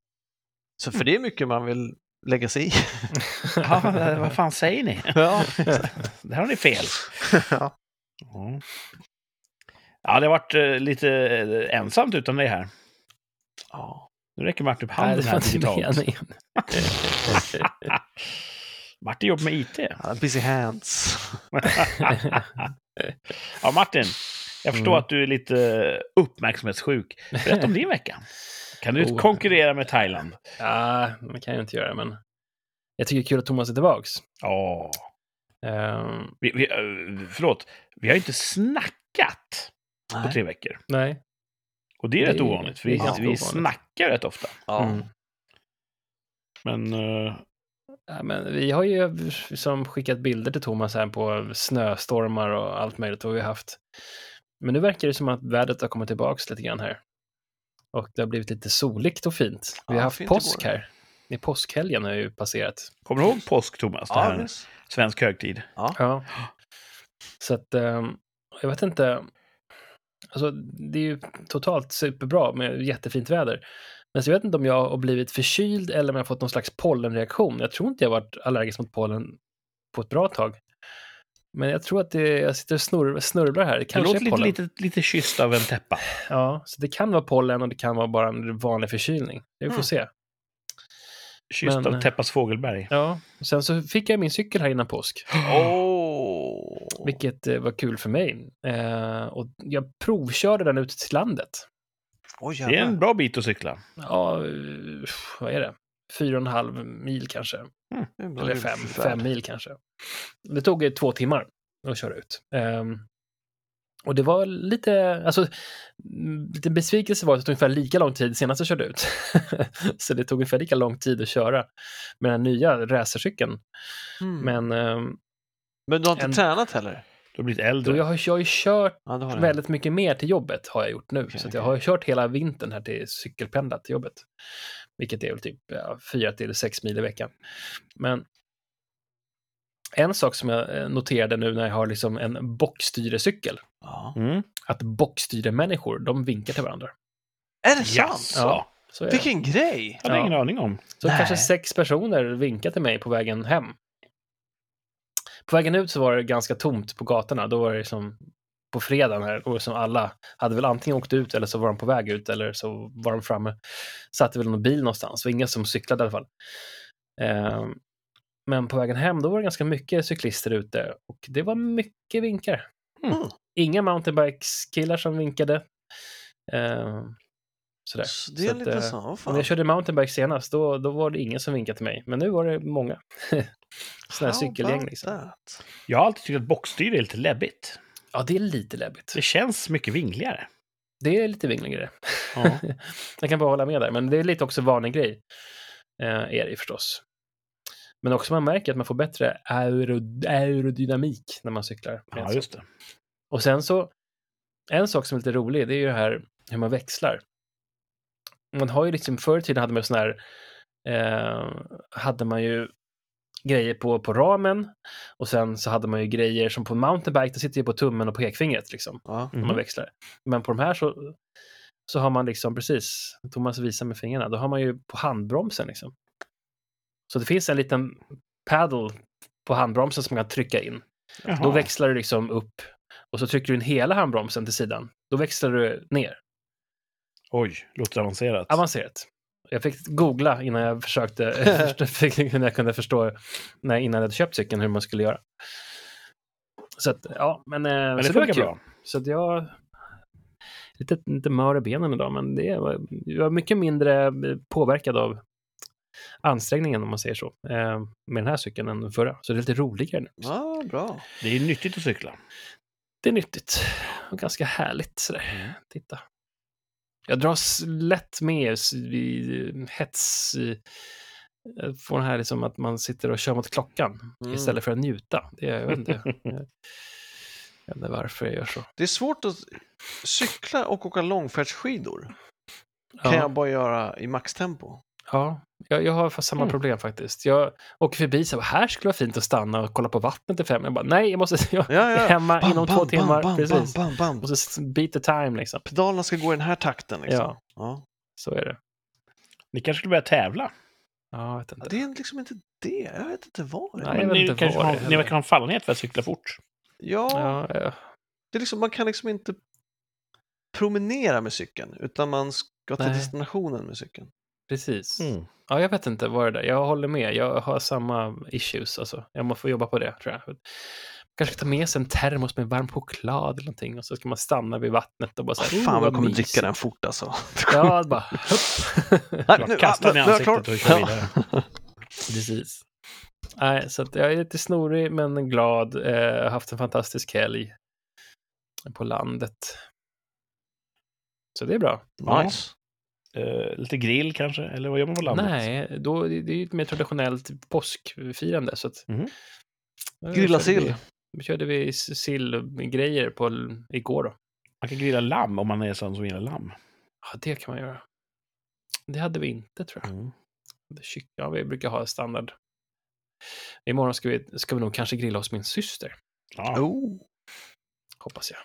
C: Så för det är mycket man vill
B: *laughs*
C: lägga sig i.
A: *laughs* Ja, eh, vad fan säger ni?
C: Ja.
A: Där har ni
C: *laughs*
A: fel. Ja, ja det har varit eh, lite eh, ensamt utan dig här.
C: ja.
A: Nu räcker Martin upp
B: Nej,
A: handen
B: det var
A: här
B: inte
A: digitalt.
B: meningen.
A: Martin jobbar med IT.
C: Han har busy hands.
A: Ja, Martin, jag förstår
B: Mm.
A: att du är lite eh, uppmärksamhetssjuk. Berätta om din vecka. Kan du
B: *laughs* Oh.
A: konkurrera med Thailand?
B: *laughs* ja, det kan jag inte göra, men jag tycker det är kul att Thomas är tillbaks.
A: Ja,
B: Ehm,
A: vi, vi, eh, förlåt. Vi har ju inte snackat på
C: Nej.
A: tre veckor.
B: nej.
A: Och det är
B: Det
A: rätt
B: är-
A: ovanligt, för
B: det
A: vi,
B: är ganska
A: vi
B: ovanligt.
A: snackar rätt ofta.
C: Ja.
B: Mm.
A: Men eh,
B: Ja, men vi har ju som skickat bilder till Thomas här på snöstormar och allt möjligt vad vi har haft. Men nu verkar det som att vädret har kommit tillbaks lite grann här. Och det har blivit lite soligt och fint. Vi
C: Ja,
B: har haft
C: fint igår.
B: påsk här. Det är påskhelgen har ju passerat.
A: kommer du ihåg påsk, Thomas? Det
C: Ja,
A: här
C: visst.
A: svensk högtid.
B: Ja. Så att, ehm, jag vet inte. Alltså, det är ju totalt superbra med jättefint väder. Men så jag vet inte om jag har blivit förkyld eller om jag har fått någon slags pollenreaktion. Jag tror inte jag har varit allergisk mot pollen på ett bra tag. Men jag tror att det, jag sitter och snurr, snurvlar här. Det
A: Det
B: kanske
A: låter
B: är
A: lite,
B: pollen.
A: lite, lite kysst av en täppa.
B: Ja, så det kan vara pollen och det kan vara bara en vanlig förkylning. Vi får
C: Mm.
B: se.
A: Kysst
B: Men,
A: av
B: eh,
A: Teppas Fågelberg.
B: Ja, och sen så fick jag min cykel här innan påsk.
C: Åh.
B: Vilket eh, var kul för mig. Eh, och jag provkörde den ut till landet.
C: Oj,
A: Det är en
C: jävlar.
A: bra bit att cykla.
B: Ja, eh, vad är det? Fyra och en halv mil kanske.
C: Det är en bra
B: Eller fem,
C: julfärd.
B: fem mil kanske. Det tog eh, två timmar att köra ut. Ehm, och det var lite, alltså, mm, lite besvikelse var att det tog ungefär lika lång tid senast jag körde ut. *laughs* så det tog ungefär lika lång tid att köra med den nya racercykeln.
C: Mm. Men,
B: Men ehm,
C: du har inte
B: en-
C: tränat heller?
A: Du har blivit
B: då
A: äldre.
B: jag, har, jag har ju kört
C: Ja, det har du.
B: väldigt mycket mer till jobbet har jag gjort nu.
C: Okej,
B: så att jag
C: okej.
B: har kört hela vintern här till cykelpendlat till jobbet. Vilket är väl typ ja, fyra till sex mil i veckan. Men en sak som jag eh, noterade nu när jag har liksom en bockstyrecykel,
C: Ja.
A: Mm.
B: att bockstyremänniskor, de vinkar till varandra.
C: Är det sant?
A: Jaså?
B: Ja. Så är det.
C: Vilken grej!
A: Jag hade
B: Ja.
A: ingen aning om.
B: Så
C: Nej.
B: kanske sex personer vinkade till mig på vägen hem. På vägen ut så var det ganska tomt på gatorna. Då var det som på fredagen här, och som alla hade väl antingen åkt ut eller så var de på väg ut eller så var de framme. Satt väl i någon bil någonstans, det var inga som cyklade i alla fall. Eh, men på vägen hem, då var det ganska mycket cyklister ute och det var mycket vinkar.
C: Mm.
B: Inga mountainbikes-killar som vinkade. Eh, sådär.
C: Så det är
B: Så att,
C: lite
B: eh,
C: så, åh,
B: När
C: fan.
B: jag körde mountainbike senast, då, då var det ingen som vinkade till mig. Men nu var det många. *laughs* Sådana här
C: How
B: cykelgäng
C: about
B: liksom.
C: that?
A: Jag har alltid tyckt att bockstyre är lite läbbigt.
B: Ja, det är lite läbbigt.
A: Det känns mycket vingligare.
B: Det är lite vingligare.
A: Ja.
B: *laughs* Jag kan bara hålla med där, men det är lite också vanlig grej. Eh, är det ju förstås. Men också man märker att man får bättre aero, aerodynamik när man cyklar.
A: ja, just det.
B: Och sen så, en sak som är lite rolig, det är ju det här hur man växlar. Man har ju liksom, förr i tiden hade man ju sån här, eh, hade man ju grejer på, på ramen och sen så hade man ju grejer som på en mountainbike, då sitter ju på tummen och pekfingret liksom,
C: Ja.
B: när
A: Mhm.
B: man växlar. Men på de här så, så har man liksom, precis, Thomas visar med fingrarna, då har man ju på handbromsen liksom. Så det finns en liten paddle på handbromsen som man kan trycka in. Då
A: Jaha.
B: växlar du liksom upp och så trycker du in hela handbromsen till sidan. Då växlar du ner.
A: Oj, låter avancerat.
B: Avancerat. Jag fick googla innan jag försökte,
A: *laughs*
B: *laughs* fick- innan jag kunde förstå när, innan jag hade köpt cykeln hur man skulle göra. Så att, ja, men, eh,
A: Men det
B: så var
A: funkar
B: kul.
A: bra.
B: Så att jag... Lite, lite mör i benen idag, men det var, jag var mycket mindre eh, påverkad av ansträngningen, om man säger så, eh, med den här cykeln än den förra. Så det är lite roligare nu.
C: ja, bra.
A: Det är nyttigt att cykla.
B: det är nyttigt och ganska härligt sådär. Titta. Jag dras lätt med s- i hets... i- jag Får den här liksom att man sitter och kör mot klockan
C: Mm.
B: istället för att njuta. Det, jag,
C: *laughs*
B: vet inte, jag vet inte varför jag gör så.
C: Det är svårt att cykla och åka långfärdsskidor. Kan jag
B: Ja,
C: bara göra i maxtempo.
B: ja, jag, jag har fa- samma
A: Mm.
B: problem faktiskt. Jag åker förbi så här, här skulle vara fint att stanna och kolla på vattnet i fem. Jag bara, nej, jag måste *laughs* jag
C: Ja,
B: är
C: ja.
B: hemma inom två timmar. precis.
C: Bam, bam, bam.
B: Och så beat the time liksom.
C: Pedalerna ska gå i den här takten. Liksom. Ja.
B: Ja, så är det.
A: *laughs* Ni kanske skulle börja tävla?
B: Ja, jag vet inte.
C: Ja, Det är liksom inte det. Jag vet inte vad det är.
B: Nej,
A: Men
B: jag vet
A: ni,
B: inte
A: kanske
B: vad
A: har,
B: det är.
A: ni verkar ha en fallenhet för att cykla fort.
C: Ja,
B: Ja, ja.
C: det är liksom, man kan liksom inte promenera med cykeln, utan man ska till
B: Nej.
C: destinationen med cykeln.
B: Precis.
C: Mm.
B: Ja, jag vet inte vad det där. Jag håller med. Jag har samma issues. Alltså. Jag måste få jobba på det, tror jag. Kanske ta med sig en termos med varm choklad eller någonting och så ska man stanna vid vattnet och bara så här,
C: Fan
B: "Oh,
C: vad jag kommer
B: mysigt."
C: dricka den fort *laughs* alltså.
B: Ja, bara
C: *laughs*
B: hopp.
C: Nej,
A: Bara kasta den i
C: nu är jag klar.
A: ansiktet och kör
C: Ja.
A: vidare.
B: *laughs* Precis. Nej, så att jag är lite snorig men glad. Eh, Jag har haft en fantastisk helg på landet. Så det är bra.
A: Ja.
C: Nice.
A: Eh, lite grill kanske, eller vad gör man på landet?
B: Nej, då, det är ju ett mer traditionellt påskfirande. Så att,
A: Mhm.
B: Ja, då
C: Grilla
B: körde
C: sill.
B: Vi, då körde vi s- sillgrejer på, l- igår. Då.
A: Man kan grilla lamm om man är sån som gillar lamm.
B: Ja, det kan man göra. Det hade vi inte, tror jag.
A: Mm.
C: Mm.
B: Det är kyck- Ja, vi brukar ha standard. Imorgon ska vi, ska vi nog kanske grilla hos min syster,
A: Ja.
C: Oh.
B: hoppas jag.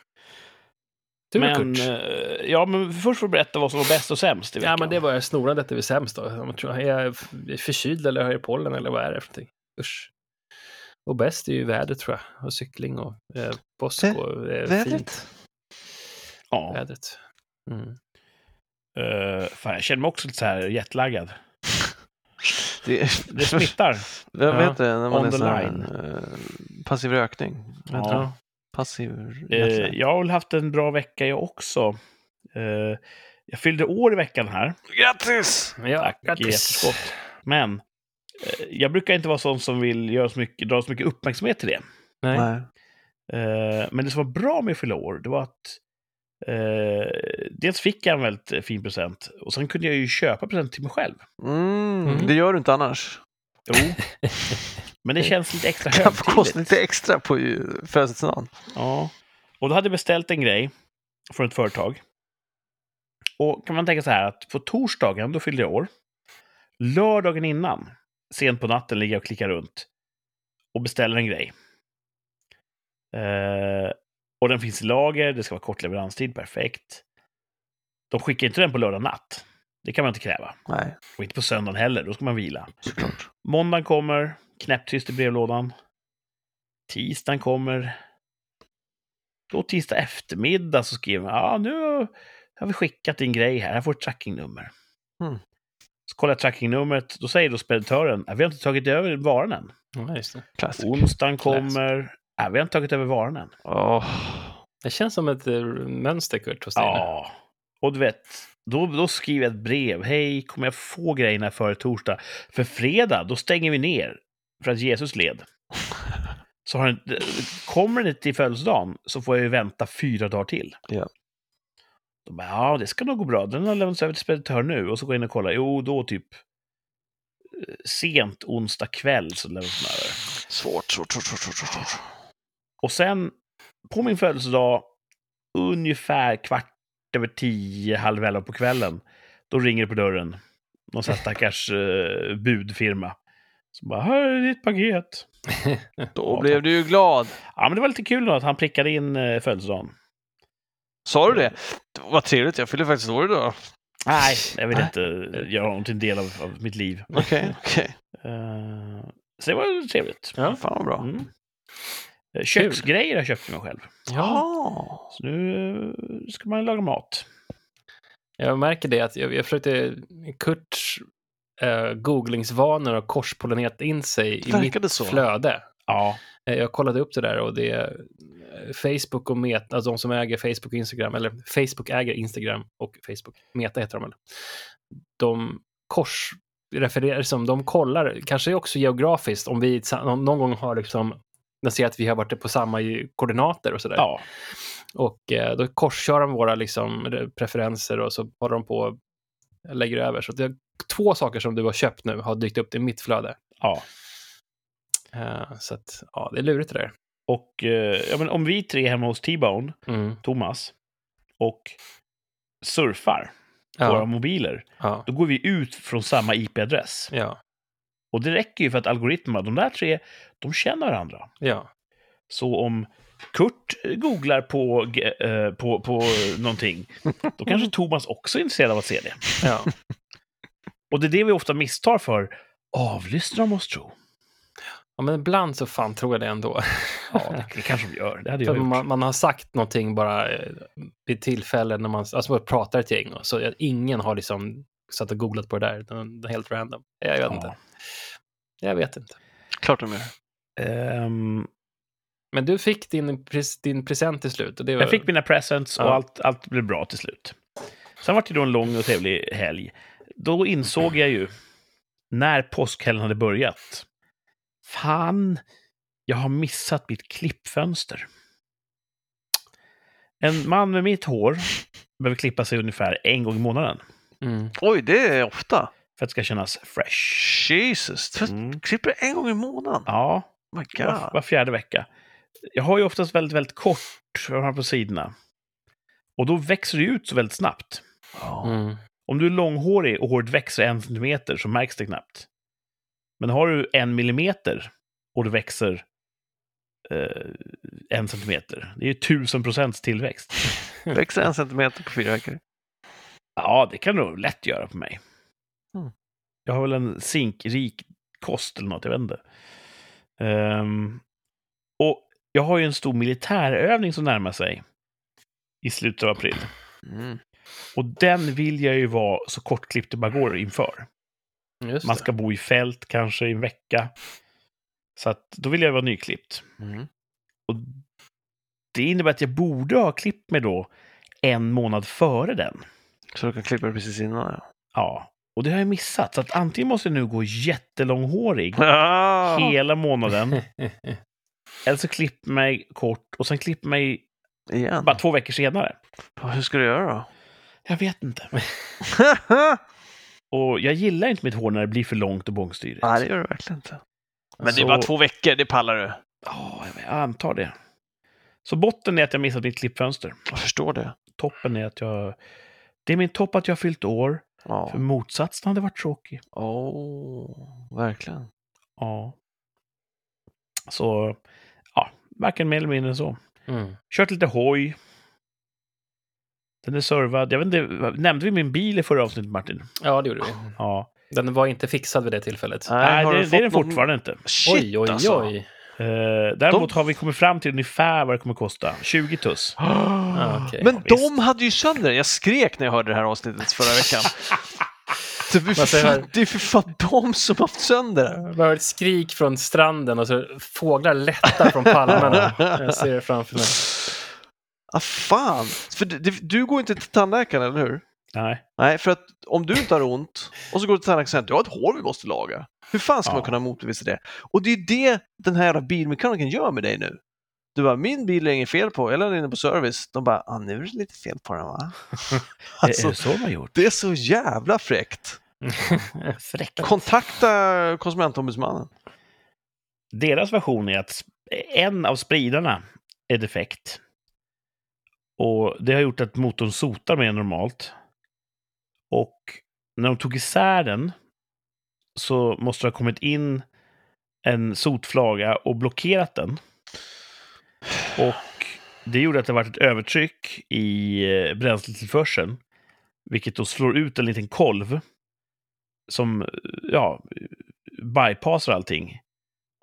B: Du då,
A: men,
B: Kurt?
A: eh, ja, men först får du berätta vad som var bäst och sämst i veckan.
B: Ja, men det var jag snorandet är väl sämst då. Jag tror- Är jag f- förkyld eller har jag pollen eller vad är det för någonting? Usch. Och bäst är ju vädret tror jag. Och cykling och eh, påsk
C: Vä-
B: och eh, fint
C: Vädret?
A: Ja.
B: vädret. Mm.
A: Eh, fan, jag känner mig också lite så här jetlaggad.
C: Det,
A: *laughs* Det
C: *laughs*
A: smittar.
C: Jag
B: Ja.
C: vet det, när man
A: On
C: är
A: the
C: sån här,
A: line.
C: eh, passiv rökning. Vad heter
A: Ja.
C: det? Passiv
A: Eh,
C: rökning.
A: jag har väl haft en bra vecka jag också. Eh, jag fyllde år i veckan här.
C: Grattis!
B: Ja,
A: Tack i efterskott. Men eh, jag brukar inte vara sån som vill göra så mycket, dra så mycket uppmärksamhet till det.
B: Nej.
C: Nej.
A: Eh, men det som var bra med att fylla år, det var att eh, dels fick jag en väldigt fin present och sen kunde jag ju köpa present till mig själv.
C: Mm,
B: Mm.
C: Det gör du inte annars.
A: Jo. men det känns lite extra
C: *laughs* Det får kosta
A: högtidligt.
C: lite extra på ju- födelsedagen.
A: Ja. Och då hade jag beställt en grej från ett företag. Och kan man tänka så här att på torsdagen, då fyllde jag år. Lördagen innan, sent på natten, ligger jag och klickar runt och beställer en grej. Eh, och den finns i lager, det ska vara kort leveranstid, perfekt. De skickar inte den på lördag natt. Det kan man inte kräva.
C: Nej,
A: Och inte på söndagen heller, då ska man vila.
C: såklart.
A: Måndagen kommer, knäpptyst i brevlådan. Tisdagen kommer. Då tisdag eftermiddag så skriver man, ja nu har vi skickat din grej här, här får du ett trackingnummer.
C: Mm.
A: Så kollar jag trackingnumret, då säger då speditören, "Ja, vi har inte tagit över varan än.
B: Ja, just det.
C: Classic.
A: Onsdagen
B: Classic.
A: kommer, ja vi har inte tagit över varan än.
C: Åh.
B: det känns som ett eh, mönster, Kurt, hos dig. nu.
A: Ja, och du vet, då, då skriver jag ett brev. Hej, kommer jag få grejerna före torsdag? För fredag, då stänger vi ner för att Jesus led. Så har den, kommer den inte till födelsedagen så får jag ju vänta fyra dagar till.
C: Ja.
A: De bara, ja, det ska nog gå bra. Den har lämnats över till speditör nu. Och så går jag in och kollar. Jo, då typ eh, sent onsdag kväll så lämnas den över.
C: Svårt, svårt, svårt, svårt, svårt, svårt, svårt.
A: Och sen på min födelsedag, ungefär kvart över tio, halv elva på kvällen, då ringer det på dörren. Någon sån här stackars eh, budfirma. Som bara, här är ditt paket.
C: Då
A: Ja,
C: blev
A: tack.
C: du ju glad.
A: Ja, men det var lite kul då att han prickade in eh, födelsedagen.
C: Sa du det? det var- vad trevligt, jag fyller faktiskt år idag.
A: Nej, jag vill
C: Nej.
A: inte göra honom till en del av, av mitt liv.
C: Okej, *laughs* okej.
A: Eh, så det var trevligt.
B: Ja.
C: Fan vad bra.
A: Mm. Eh, Köksgrejer har jag köpt till mig själv.
B: ja.
A: Så nu eh, ska man laga mat.
B: Jag märker det att jag, jag försökte Kurts eh, googlingsvanor har korspollinerat in sig i
C: Verkade
B: mitt
C: så.
B: flöde.
A: Ja,
B: Eh, Jag kollade upp det där och det är eh, Facebook och Meta, alltså de som äger Facebook och Instagram, eller Facebook äger Instagram och Facebook, Meta heter de väl. De kors refererar som de kollar, kanske också geografiskt, om vi sa- om någon gång har liksom, de ser att vi har varit på samma ju- koordinater och sådär.
A: ja.
B: Och eh, då korskör de våra liksom, re- preferenser och så håller de på och lägger över. Så det är två saker som du har köpt nu har dykt upp i mitt flöde.
A: ja.
B: Eh, så att, ja, det är lurigt det där.
A: Och eh, ja, men om vi tre hemma hos T-Bone,
B: Mm.
A: Thomas, och surfar på våra
B: Ja,
A: mobiler,
B: ja,
A: då går vi ut från samma IP-adress.
B: ja,
A: Och det räcker ju för att algoritmerna, de där tre, de känner varandra.
B: ja.
A: Så om Kurt eh, googlar på, g- eh, på, på någonting, då
B: Mm.
A: kanske Thomas också är intresserad av att se det.
B: ja.
A: Och det är det vi ofta misstar för. Avlyssnar de oss tro?
B: ja men ibland så fan tror jag det ändå.
A: *laughs* Ja, det, det kanske de gör. Det hade
B: För
A: jag gjort.
B: man, man har sagt någonting bara eh, vid tillfällen när man alltså man pratar ett gäng. Och så jag- ingen har liksom satt och googlat på det där. utan Det är helt random. Jag vet
A: Ja.
B: inte. Jag vet inte.
C: Klart de gör.
A: Ehm,
B: Men du fick din, pres- din present till slut. Och det var...
A: Jag fick mina presents och
B: Ja.
A: allt, allt blev bra till slut. Sen var det då en lång och trevlig helg. Då insåg jag ju, när påskhelgen hade börjat, fan, jag har missat mitt klippfönster. En man med mitt hår behöver klippa sig ungefär en gång i månaden
B: Mm.
C: Oj, det är ofta.
A: för att det ska kännas fresh.
C: Jesus. För
A: Mm.
C: klipper en gång i månaden.
A: Ja,
C: My
A: var,
C: God.
A: var fjärde vecka. Jag har ju oftast väldigt, väldigt kort här på sidorna. Och då växer det ju ut så väldigt snabbt.
C: Ja.
B: Mm.
A: Om du är långhårig och håret växer en centimeter så märks det knappt. Men har du en millimeter och det växer eh, en centimeter, det är ju tusen procents tillväxt.
C: Växer en centimeter på fyra veckor.
A: Ja, det kan du nog lätt göra på mig.
C: Mm.
A: Jag har väl en zinkrik kost eller något, jag vet inte. Ehm, och jag har ju en stor militärövning som närmar sig i slutet av april.
C: Mm.
A: Och den vill jag ju vara så kortklippt det bara går inför.
B: Just
A: Man ska bo i fält kanske i en vecka. Så att, då vill jag vara nyklippt.
C: Mm.
A: Och det innebär att jag borde ha klippt mig då en månad före den.
C: Så du kan klippa det precis innan. ja.
A: Ja, och det har jag missat. Så att antingen måste jag nu gå jättelånghårig
C: Ah,
A: hela
B: *laughs*
C: *laughs*
A: månaden.
B: det.
A: eller så klipper mig kort och sen klipper mig
C: igen.
A: bara två veckor senare.
C: Hur ska du göra *laughs* då?
A: Jag vet
C: *laughs*
A: inte. Och jag gillar inte mitt hår när det blir för långt och bångstyrigt.
C: Nej, det gör du verkligen inte. Men det är
A: Så-
C: bara två veckor, det pallar du.
A: Ja, jag antar det. Så botten är att jag missat mitt klippfönster.
C: Jag förstår det.
A: toppen är att jag... Det är min topp att jag har fyllt år,
C: Ja.
A: för motsatsen hade varit tråkig.
C: Åh, verkligen.
A: Ja. Så, ja, varken mer eller mindre än så.
B: Mm.
A: Kört lite hoj. Den är servad. Jag vet inte, nämnde vi min bil i förra avsnittet, Martin?
B: Ja, det gjorde vi.
A: Ja.
B: Den var inte fixad vid det tillfället.
A: Nej,
C: har
A: det,
C: du
A: det är den
C: fått någon-
A: fortfarande inte.
C: Shit
B: Oj, oj,
C: *gasps* alltså.
B: oj.
A: Eh, däremot har vi kommit fram till ungefär vad det kommer kosta. 20 tuss.
B: Ah, okej.
C: Men
A: Ja,
C: de hade ju sönder den. Jag skrek när jag hörde det här avsnittet förra veckan. *laughs* Det är ju för
B: Varför är-
C: fan- det är för fan de som har haft sönder det.
B: Det var ett skrik från stranden och så fåglar lättar
A: *laughs*
B: från palmerna. Jag ser det framför mig.
C: Ah, fan! För du, det- du går inte till tandläkaren, eller hur?
A: Nej.
C: Nej, för att om du inte har ont och så går du till tandläkaren och säger att du har ett hår vi måste laga. Hur fan ska
A: Ja.
C: man kunna motbevisa det? Och det är ju det den här jävla bilmekanikern gör med dig nu. Du bara, min bil är inget fel på, jag lämnade in den på service. De bara, ah, nu är det lite fel på
A: *laughs*
C: den va?
A: Alltså... Är
C: alltså,
A: det så de har gjort?
C: det är så jävla fräckt.
A: Fräckt.
C: Kontakta konsumentombudsmannen.
A: Deras version är att sp- en av spridarna är defekt. Och det har gjort att motorn sotar mer än normalt. Och när de tog isär den så måste det ha kommit in en sotflaga och blockerat den. Och det gjorde att det varit ett övertryck i eh, bränsletillförseln. Vilket då slår ut en liten kolv som eh, ja, bypassar allting.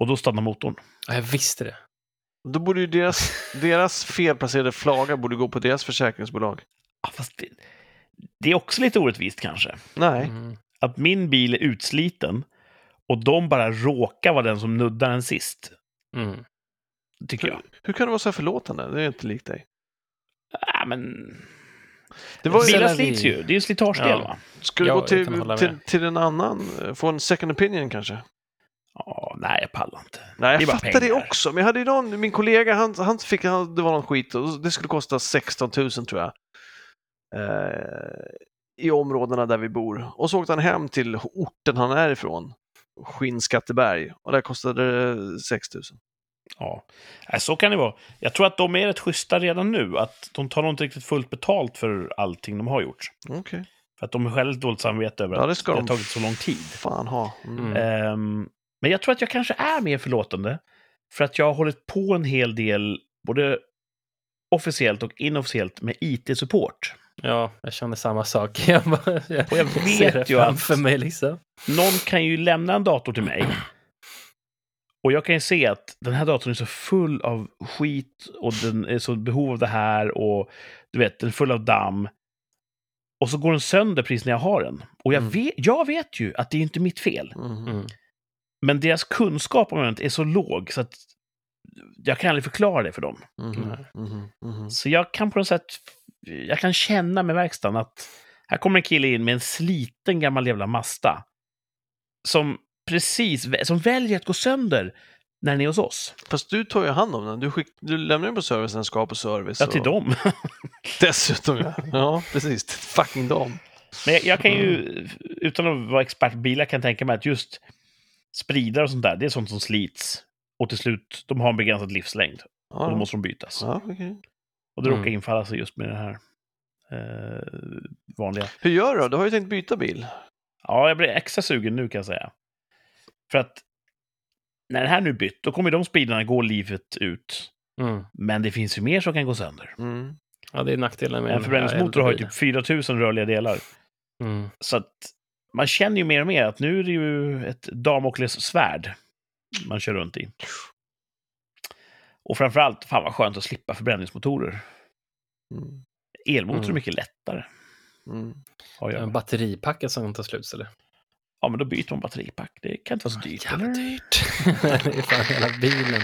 A: Och då stannar motorn.
B: Ja, jag visste det.
C: Då borde
A: *laughs*
C: ju deras, deras felplacerade flaga borde gå på deras försäkringsbolag.
A: Ja, fast det, det är också lite orättvist kanske.
C: Nej.
B: Mm.
A: Att min bil är utsliten och de bara råkar vara den som nuddar den sist.
B: Mm.
A: Tycker jag.
C: Hur kan du vara så här förlåtande? Det är inte likt dig.
A: *laughs* Ja, men...
C: Det var ju
A: Bilar
B: Sällan vi-
A: slits ju. Det är ju en slitagedel,
B: Ja.
A: va?
C: Ska du
B: Ja,
C: gå
B: jag
C: till,
B: kan hålla med.
C: till, till en annan? eh, Få en second opinion kanske?
A: Ja, nej, jag pallar inte.
C: Nej,
A: Det är
C: jag
A: bara
C: fattar det
A: pengar.
C: också. Men jag hade ju någon, min kollega, han, han fick, han, det var någon skit och det skulle kosta 16 000 tror jag. Eh, I områdena där vi bor. Och så åkte han hem till orten han är ifrån, Skinnskatteberg, och där kostade det 6 000.
A: Ja. Nej, så kan det vara. Jag tror att de är rätt schyssta redan nu. Att de tar nog inte riktigt fullt betalt för allting de har gjort.
C: Okej,
A: För att de har själv dåligt samvete över
C: ja det
A: att det
C: ska
A: har
C: de
A: tagit så lång tid.
C: fan ha. Mm.
B: Mm.
A: Ehm, men jag tror att jag kanske är mer förlåtande. För att jag har hållit på en hel del, både officiellt och inofficiellt, med IT-support.
B: Ja, jag känner samma sak. *laughs* Jag, bara, jag,
A: Och jag
B: ser
A: vet
B: det
A: ju att-
B: framför mig liksom.
A: Någon kan ju lämna en dator till mig. Och jag kan ju se att den här datorn är så full av skit och den är så behov av det här och du vet, den är full av damm. Och så går den sönder precis när jag har den. Och jag,
B: Mm.
A: vet, jag vet ju att det är inte mitt fel.
C: Mm.
B: Mm.
A: Men deras kunskap om ämnet är så låg så att jag kan aldrig förklara det för dem.
C: Mhm.
A: Mm.
C: Mhm. Mhm.
A: Så jag kan på något sätt, jag kan känna med verkstaden att här kommer en kille in med en sliten gammal jävla Mazda. Som precis, som väljer att gå sönder när den är hos oss.
C: Fast du tar ju hand om den. Du, skick, du lämnar den på servicen, den ska på service.
A: Ja, till
C: och- *laughs*
A: dem.
C: Dessutom ja. Ja, precis. Till fucking dem.
A: Men jag, jag kan
C: Mm.
A: ju, utan att vara expert på bilar, kan jag tänka mig att just spridare och sånt där, det är sånt som slits. Och till slut, de har en begränsad livslängd. Och då
C: Ja,
A: måste de bytas.
C: ja, okej.
A: Och det råkar
B: Mm.
A: infalla sig just med det här eh, vanliga.
C: Hur gör du då? Du har ju tänkt byta bil.
A: Ja, jag blir extra sugen nu kan jag säga. För att när den här nu bytt, då kommer ju de speedarna gå livet ut.
B: Mm.
A: Men det finns ju mer som kan gå sönder.
C: Mm.
B: Ja, det är nackdelen med
A: En
B: den här
A: förbränningsmotor har ju
B: äldre
A: typ 4000 rörliga delar.
B: bilen. Mm.
A: Så att man känner ju mer och mer att nu är det ju ett Damokles svärd man kör runt i. Och framförallt, fan vad skönt att slippa förbränningsmotorer.
C: Mm.
A: Elmotor är
B: Mm.
A: mycket lättare.
C: Mm.
A: Har jag.
B: En batteripacket som tar slut, eller?
A: Ja, men då byter man batteripack. Det kan inte vara så dyrt.
B: Jävla
A: eller?
B: dyrt. det är fan hela bilen.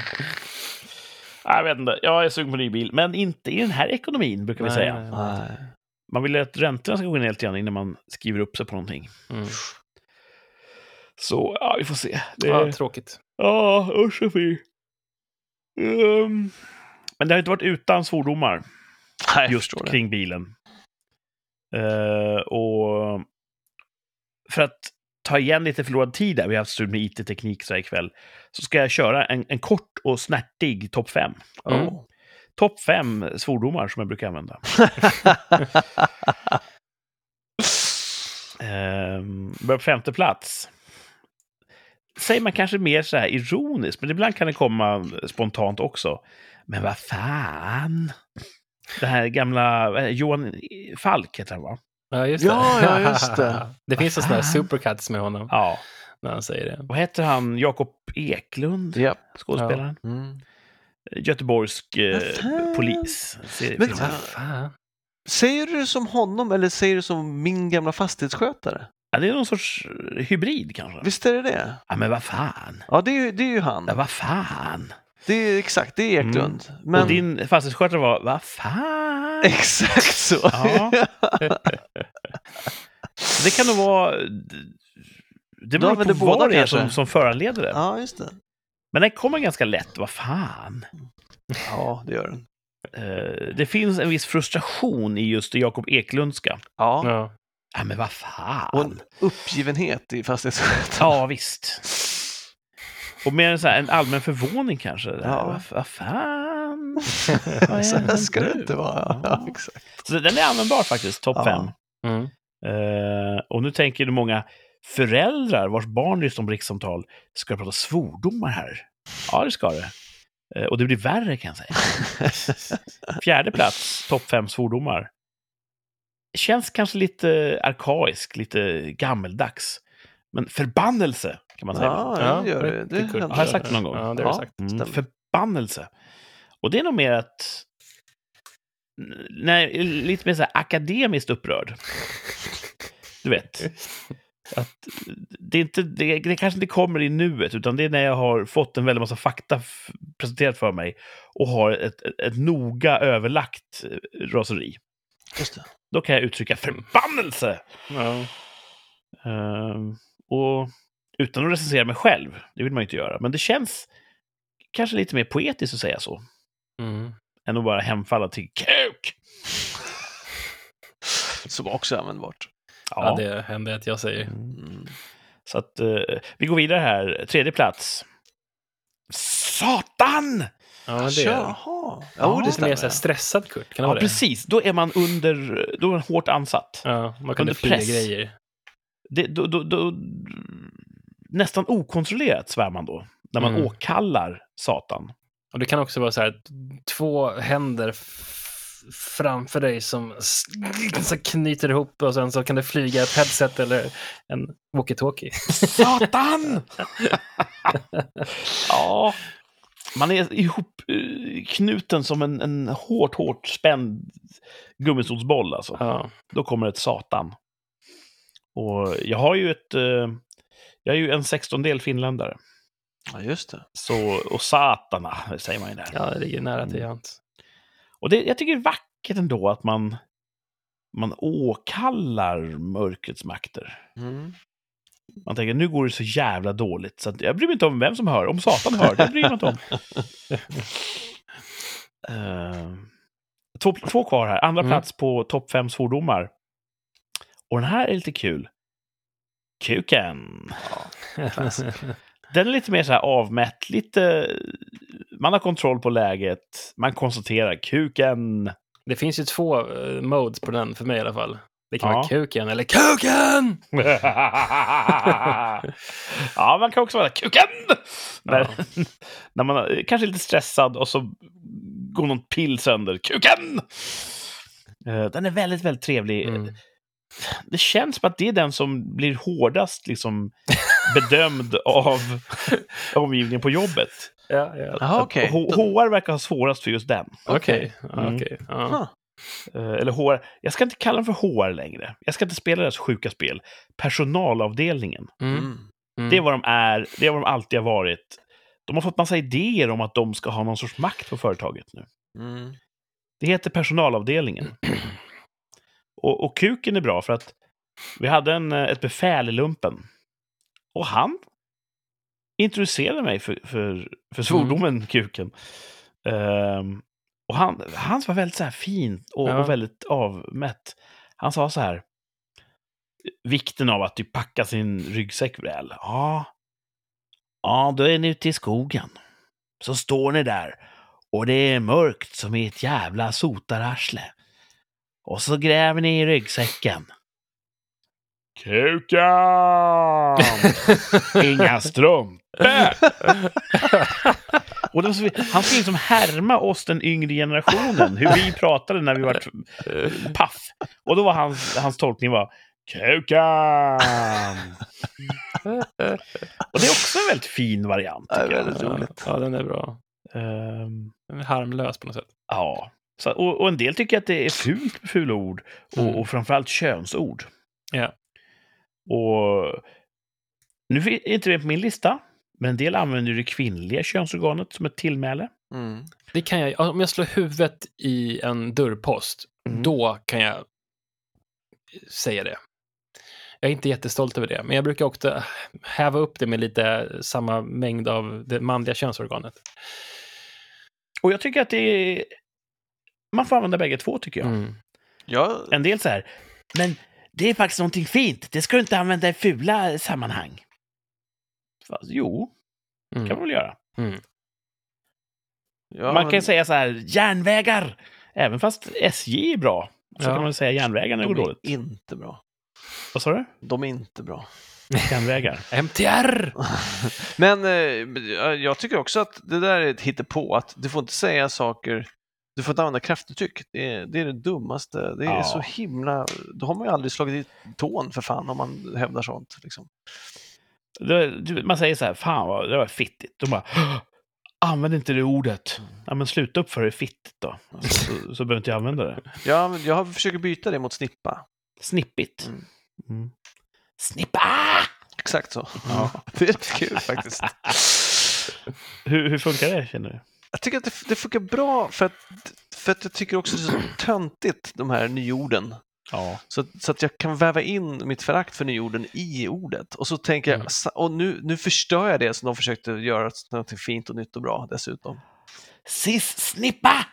A: Nej, Jag vet inte. Jag är sugen på ny bil, men inte i den här ekonomin brukar vi
B: Nej,
A: säga.
B: nej, nej.
C: Nej.
A: Man vill ju att räntorna ska gå ner lite grann innan man skriver upp sig på någonting.
B: Mm.
A: Så ja, vi får se. Det
B: Ja,
A: är...
B: tråkigt.
A: Ja, usch och fy. Ehm, Men det har inte varit utan svordomar
C: Nej, jag
A: just
C: förstår det.
A: kring bilen. Eh, och för att ta igen lite förlorad tid där, vi har haft stud med IT-teknik så här ikväll, så ska jag köra en, en kort och snärtig topp 5.
B: Mm.
C: Ja.
A: Topp 5 svordomar som jag brukar använda. Ehm, börjar på femte plats. Säger man kanske mer så här ironiskt, men ibland kan det komma spontant också. Men vad fan! Det här gamla vad är det, Johan Falk heter han va?
B: Ja, just det.
C: Ja, ja, just det.
B: *laughs* det finns en sån här
A: Fan.
B: supercuts med honom.
A: Ja.
B: när han säger det.
A: Vad heter han? Jakob Eklund,
C: Japp.
A: skådespelaren.
C: Mm.
A: Göteborgsk eh,
C: Vad fan?
A: polis. Ser-
C: Men-
A: finns-
B: Vad fan?
C: Säger du det som honom eller säger du det som min gamla fastighetsskötare?
A: Ja, det är någon sorts hybrid kanske.
C: Visst är det det?
A: Ja, men vad fan.
C: Ja, det är, ju- det är ju han.
A: Ja, vad fan.
C: Det är exakt, det är Eklund. Men
A: Och din fastighetsskötare var, vad fan.
C: *laughs* exakt så.
A: Ja. Det kan nog vara... Det
C: Du
A: beror
C: använder
A: på vad
C: båda
A: det är som,
C: kanske?
A: som föranleder det.
C: ja, just det.
A: Men den kommer ganska lätt, vad fan.
C: Ja, det gör den.
A: Eh, det finns en viss frustration i just det Jakob Eklundska.
C: Ja,
B: Ja.
A: Ja, men vad fan.
C: och en uppgivenhet i fastighetsskötaren.
A: Ja, visst. Och med en, så här, en allmän förvåning kanske. Det här,
C: Ja.
A: Vad, vad fan.
C: *laughs* Ja, så här
A: men
C: ska det
A: du.
C: inte vara.
A: Ja.
C: Ja, *laughs* exakt.
A: Så den är användbar faktiskt, topp
C: Ja.
A: fem.
B: Mm.
A: Eh, och nu tänker ju många föräldrar vars barn lyssnar på rikssamtal, ska det prata svordomar här? Ja, det ska det. Eh, och det blir värre kan jag säga. Fjärde plats, topp fem svordomar. Känns kanske lite arkaisk, lite gammeldags. Men förbannelse kan man säga.
C: Ja, det gör det. Det
B: är kul.
C: händer.
A: Har jag sagt det någon gång?
B: Ja, det har
C: Ja.
B: du sagt.
A: Mm,
C: Stämmer.
A: förbannelse. Och det är nog mer att... N- Nej, lite mer så här akademiskt upprörd. Du vet. Att det, är inte, det, det kanske inte kommer i nuet, utan det är när jag har fått en väldig massa fakta f- presenterat för mig och har ett, ett, ett noga överlagt eh, raseri.
C: Just det.
A: Då kan jag uttrycka förbannelse!
B: Ja.
A: Ehm, och utan att recensera mig själv, det vill man ju inte göra, men det känns kanske lite mer poetiskt att säga så.
B: Mm.
A: än att bara hemfalla till kuk.
C: *laughs* Som också är användbart.
B: Ja. det händer att jag säger.
C: Mm.
A: Så att eh, vi går vidare här. Tredje plats. Satan!
B: Ja, det är
C: Jaha.
B: det.
C: Jo,
A: Ja,
C: det
B: Lite mer så här
C: stämmer.
B: stressad Kurt, kan det
A: Ja,
B: vara det?
A: precis. Då är man under... Då är man hårt ansatt.
B: Ja, man kunde
A: Under
B: flyga
A: press.
B: grejer.
A: Det, då, då, då, nästan okontrollerat svär man då. När man
B: Mm.
A: åkallar
B: *laughs*
A: Satan.
B: Och det kan också vara så här att två händer f- framför dig som s- så knyter ihop och sen så kan det flyga ett headset eller en walkie-talkie. *laughs*
A: Satan! ja. Man är ihop eh, knuten som en, en hårt, hårt spänd gummistolsboll alltså.
B: Ja.
A: då kommer ett satan. Och jag har ju ett... Eh, jag är ju en sextondel finländare.
C: Ja, just det.
A: Så, och satana, det säger man ju där.
B: ja, det ligger nära
A: Mm.
B: till hands.
A: Och det, jag tycker det är vackert ändå att man, man åkallar mörkrets makter.
C: Mm.
A: Man tänker, nu går det så jävla dåligt, så att jag bryr mig inte om vem som hör. Om Satan hör, det bryr jag mig inte om. Eh, två, två kvar här. Andra
B: Mm.
A: plats på topp fem svordomar. Och den här är lite kul. Kuken. Den är lite mer så här avmätt, lite... Man har kontroll på läget, man konstaterar kuken.
B: *laughs* det finns ju två eh, modes på den, för mig i alla fall. Det kan
A: Ja.
B: vara kuken eller kuken!
A: *laughs* ja, man kan också vara kuken! När, *laughs* när man är- kanske är lite stressad och så går någon pill sönder. Kuken! Eh, Den är väldigt, väldigt trevlig.
B: Mm.
A: Det känns som att det är den som blir hårdast liksom, *laughs* bedömd av omgivningen på jobbet.
B: Ja, ja.
C: Jaha, okej.
A: H- HR verkar ha svårast för just den.
B: Okej. Ja,
A: Mm.
B: okej. Ja.
C: Huh.
A: Eh, eller HR. Jag ska inte kalla den för HR längre. Jag ska inte spela deras sjuka spel. Personalavdelningen.
B: Mm.
C: Mm.
B: Mm.
A: Det är vad de är. Det är vad de alltid har varit. De har fått massa idéer om att de ska ha någon sorts makt på företaget nu.
C: Mm.
A: Det heter personalavdelningen. Och, och kuken är bra för att vi hade en, eh, ett befäl i lumpen. Och han introducerade mig för, för, för svordomen kuken. Ehm, och han, hans var väldigt så här fin och,
B: Ja.
A: och väldigt avmätt. Han sa så här. Vikten av att du packar sin ryggsäck väl. Ja. Ja, då är ni ute i skogen. Så står ni där och det är mörkt som i ett jävla sotararsle. Och så gräver ni i ryggsäcken.
B: *laughs*
A: Kukan! Inga
C: *laughs*
A: strumpor! Och det var så, han skulle liksom härma oss, den yngre generationen, hur vi pratade när vi var paff. Och då var hans, hans tolkning var Kukan!
C: *laughs*
A: och det är också en väldigt fin variant.
C: Ja,
A: tycker jag.
C: väldigt roligt.
B: Ja, den är bra.
A: Ehm,
B: Den är harmlös på något sätt.
A: ja. Så, och, och en del tycker att det är fult med fula ord.
B: Mm.
A: Och, och framförallt könsord.
B: Ja.
A: Och nu är inte det på min lista. Men en del använder ju det kvinnliga könsorganet som ett tillmäle.
C: Mm.
B: Det kan jag, om jag slår huvudet i en dörrpost,
A: Mm.
B: då kan jag säga det. Jag är inte jättestolt över det, men jag brukar också häva upp det med lite samma mängd av det manliga könsorganet.
A: Och jag tycker att det är... Man får använda bägge två, tycker jag.
B: Mm.
C: Ja,
A: En del så här, men det är faktiskt någonting fint. Det ska du inte använda i fula sammanhang. Fast, jo, det kan man
B: Mm.
A: väl göra.
C: ja,
A: man kan
C: men-
A: säga så här, järnvägar! Även fast SJ är bra, så
B: Ja.
A: kan man säga järnvägar när det går
C: de är
A: dåligt.
C: inte bra.
A: Vad sa du?
C: De är inte bra. *laughs*
A: Järnvägar.
B: MTR!
C: Men eh, jag tycker också att det där är ett hittepå, att du får inte säga saker, du får inte använda kraftuttryck. Det är det, är det dummaste. Det är
A: Ja.
C: så himla... Då har man ju aldrig slagit i tån för fan om man hävdar sånt. Liksom.
A: Det- du- Man säger så här, fan vad det var fittigt. De bara, "Åh, använd inte det ordet. Ja, men sluta upp för det är fittigt då. Alltså, så, så behöver inte jag använda det.
C: Jag, använder- jag försöker byta det mot snippa.
A: Snippigt.
C: Mm.
A: Mm. Snippa!
C: Exakt så.
A: Ja.
C: *laughs* Det är kul faktiskt.
A: Hur, hur funkar det, känner du?
C: Jag tycker att det, det funkar bra för att, för att jag tycker också det är så töntigt, de här nyorden.
A: Ja.
C: Så, att- så att jag kan väva in mitt förakt för nyorden i ordet. Och så tänker
B: Mm.
C: jag, sa- och nu, nu förstör jag det som de försökte göra till någonting fint och nytt och bra dessutom. *laughs*
A: Sis-snippa!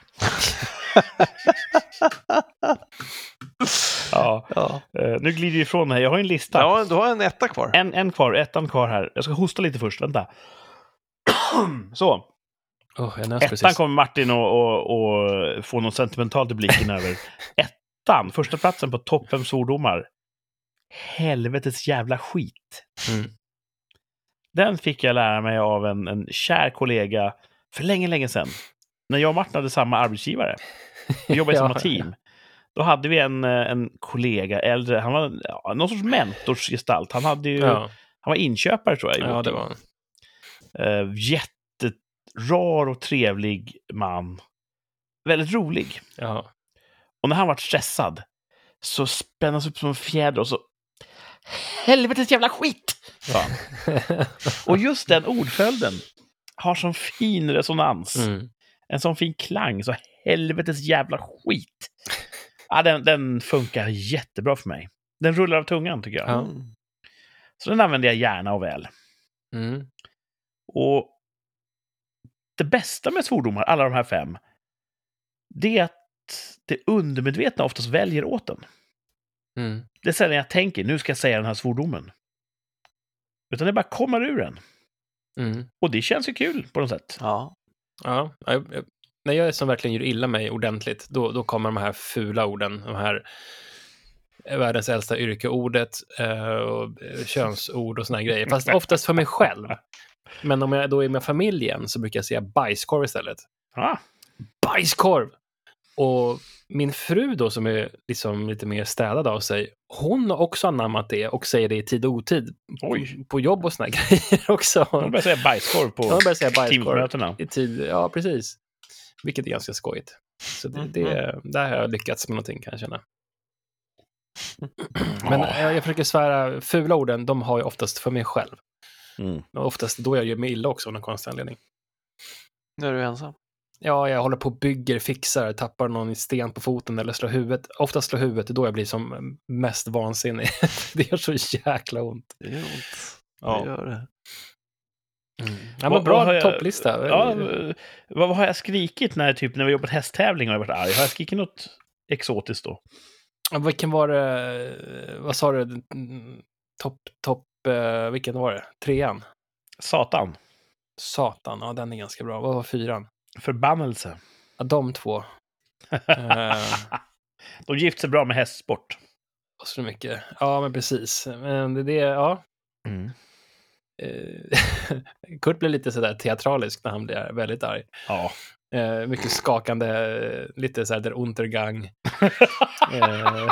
A: ja,
C: Ja,
A: eh, nu glider vi ifrån här. Jag har en lista.
C: ja du har en etta kvar.
A: En, en kvar, ettan kvar här. Jag ska hosta lite först, vänta. *clears throat* Så,
B: Oh, jag nös
A: ettan
B: precis.
A: kommer Martin och, och, och få något sentimentalt i blicken
B: *laughs*
A: över. Ettan, första platsen på topp fem svordomar. Helvetes jävla skit.
B: Mm.
A: Den fick jag lära mig av en, en kär kollega för länge, länge sedan. När jag och Martin hade samma arbetsgivare. Vi
B: *laughs*
A: jobbade i
B: Ja.
A: samma team. Då hade vi en, eh, en kollega, äldre, han var ja, någon sorts mentorsgestalt. Han, hade ju,
B: Ja,
A: han var inköpare tror jag. i
B: ja,
A: vårt
B: det var
A: Eh, jätterar och trevlig man. Väldigt rolig.
B: *laughs* ja.
A: Och när han var stressad så spändes upp som en fjäder och så... Helvetes jävla skit! sa han. Och just den ordföljden har sån fin resonans.
B: mm.
A: En sån fin klang. Så helvetes jävla skit! Ja, den, den funkar jättebra för mig. Den rullar av tungan tycker jag.
B: Ja.
C: Mm.
A: Så den använder jag gärna och väl.
B: Mm.
A: Och det bästa med svordomar, alla de här fem, det är att det undermedvetna oftast väljer åt den.
B: Mm.
A: Det är sällan jag tänker, nu ska jag säga den här svordomen. Utan det bara kommer ur en.
B: Mm.
A: Och det känns ju kul på något sätt.
C: Ja.
B: Ja, jag, jag, när jag är som verkligen gör illa mig ordentligt, då, då kommer de här fula orden, de här eh, världens äldsta yrkeordet eh, och eh, könsord och såna här grejer. Fast oftast för mig själv. Men om jag då är med familjen så brukar jag säga bajskorv istället.
A: Ah,
B: Bajskorv! Och min fru då som är liksom lite mer städad av sig, hon har också anammat det och säger det i tid och otid.
A: Oj.
B: På jobb och såna här *laughs* grejer också.
A: de
B: Hon
A: börjar säga bajskorv på
B: börjar säga bajskorv
A: teammötena.
B: i tid. Ja, precis. Vilket är ganska skojigt. Så det,
C: Mm.
A: Mm-hmm.
B: det, där har jag lyckats med någonting kan jag känna.
A: Men,
B: Men jag, jag försöker svära, fula orden, de har jag oftast för mig själv.
A: mm.
B: Och oftast då jag gör mig illa också av någon konstig anledning.
C: Nu är du ensam.
B: Ja, jag håller på och bygger, fixar, tappar någon sten på foten eller slår huvudet. Oftast slår huvudet, det är då jag blir som mest vansinnig. *laughs* det gör så jäkla ont.
C: Det gör ont.
B: Ja.
C: Det gör det.
B: Ja,
A: Mm. Vad-
B: men
A: vad har
B: bra
A: jag-
B: topplista.
A: ja, eh, vad, vad har jag skrikit när, typ, när vi jobbat hästtävling och jag varit arg? Har jag skrikit något exotiskt då?
B: Ja, Vilken var det, vad sa du, Mm, topp, topp, eh, vilken var det? Trean?
A: Satan.
B: Satan, ja den är ganska bra. Vad var fyran?
A: Förbannelse.
B: Ja, de två. Eh,
A: De gifter sig bra med hästsport.
B: och så mycket. Ja, men precis. Men det, det ja. Mm. Eh, *laughs* Kurt blir lite sådär teatralisk när han blir väldigt arg.
A: Ja.
B: Eh, mycket skakande, eh, *laughs* lite såhär der Untergang. Eh,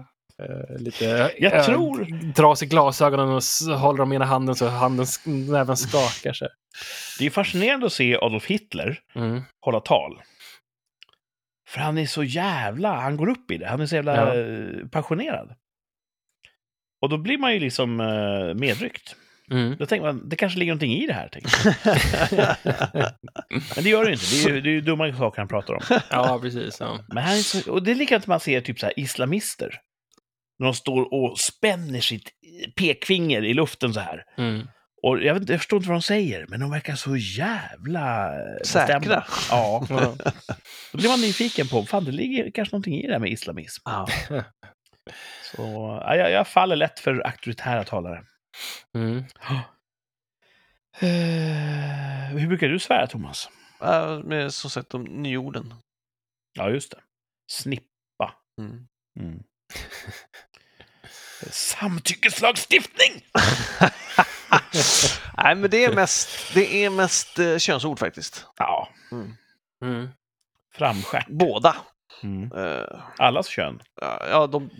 B: *laughs* eh, lite
A: Jag
B: eh,
A: tror-
B: dras i glasögonen och s- håller dem i ena handen så handen sk- näven skakar. Så. här.
A: Det är fascinerande att se Adolf Hitler
B: Mm.
A: hålla tal. För han är så jävla, han går upp i det, han är så jävla
B: Ja.
A: eh, passionerad. Och då blir man ju liksom eh, medryckt.
B: Mm.
A: Då tänker man, det kanske ligger någonting i det här. Tänker jag. Men det gör det ju inte, det är ju, det är ju dumma saker han pratar om.
B: Ja, precis. Ja.
A: Men han är så, och det är likadant som man ser typ så här islamister. När de står och spänner sitt eh, pekfinger i luften så här.
B: Mm.
A: Och jag, vet, inte- jag förstår inte vad de säger, men de verkar så jävla eh,
C: Säkra.
A: bestämda. Ja.
B: Ja.
A: Då blir man nyfiken på, fan det ligger kanske någonting i det här med islamism.
C: Ja.
A: Så, ja, jag, jag faller lätt för auktoritära talare.
B: Mm.
A: Eh, hur brukar du svära, Thomas?
C: Ja, Med, som sagt, de nyorden.
A: Ja, just det. Snipp.
C: Mm. *laughs*
A: Mm. Samtyckeslagstiftning!
C: Nej, men det är mest, det är mest eh, könsord faktiskt.
A: Ja,
B: Mm.
A: framstjärt.
C: Båda.
A: Mm.
C: Eh,
A: Allas kön.
C: ja, de,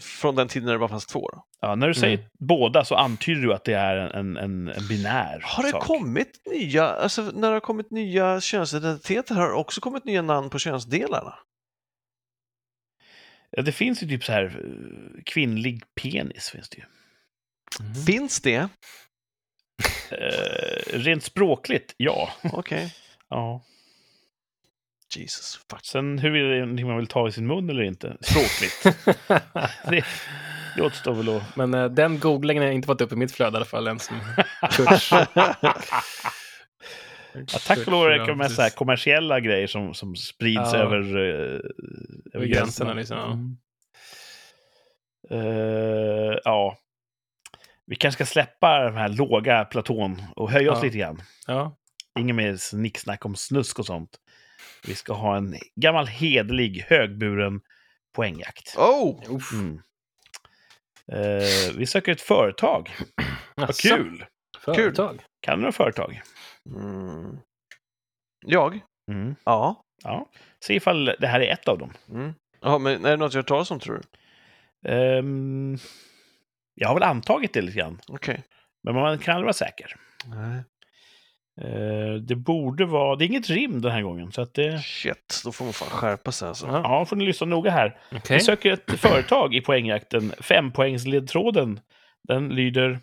C: från den tiden när det bara fanns två. Då.
A: Ja, när du säger
C: Mm.
A: båda så antyder du att det är en, en, en binär
C: Har det
A: sak.
C: kommit nya, alltså när det har kommit nya könsidentiteter har det också kommit nya namn på könsdelarna?
A: Ja, det finns ju typ så här eh, kvinnlig penis finns det ju.
B: Mm.
C: Finns *laughs* det?
A: Eh, rent språkligt, ja.
C: Okej.
A: ja.
C: Jesus fuck.
A: Sen huruvida det är någonting man vill ta i sin mun eller inte, språkligt, det, det återstår väl att...
B: Men eh, den googlingen har inte fått upp i mitt flöde i alla fall än som kurs.
A: Ja, tack och lov räcker det med
B: precis.
A: så här kommersiella grejer som, som sprids
B: Ja.
A: över, eh, över
B: gränserna liksom, ja.
A: Mm. Eh, ja. Vi kanske ska släppa den här låga platån och höja oss
B: Ja.
A: lite grann.
B: Ja.
A: Inget mer snicksnack om snusk och sånt. Vi ska ha en gammal hederlig högburen poängjakt.
C: Oh!
B: Uff.
A: Mm. Eh, vi söker ett företag. Vad
B: Alltså,
A: kul!
B: Företag.
A: Kan du några företag?
C: Mm. Jag?
A: Mm.
C: Ja.
A: Ja. Se ifall det här är ett av dem.
C: Mm. Jaha, men är det något jag har hört talas om tror du?
A: Ehm, jag har väl antagit det lite gran,
C: Okej.
A: men man kan aldrig vara säker.
C: Nej.
A: Eh, det borde vara... Det är inget rim den här gången, så att det...
C: Shit, då får man fan skärpa sig alltså.
B: Ja.
A: Ja, får ni lyssna noga här.
B: Okej.
A: Vi söker ett företag i poängjakten. Fempoängsledtråden. Den lyder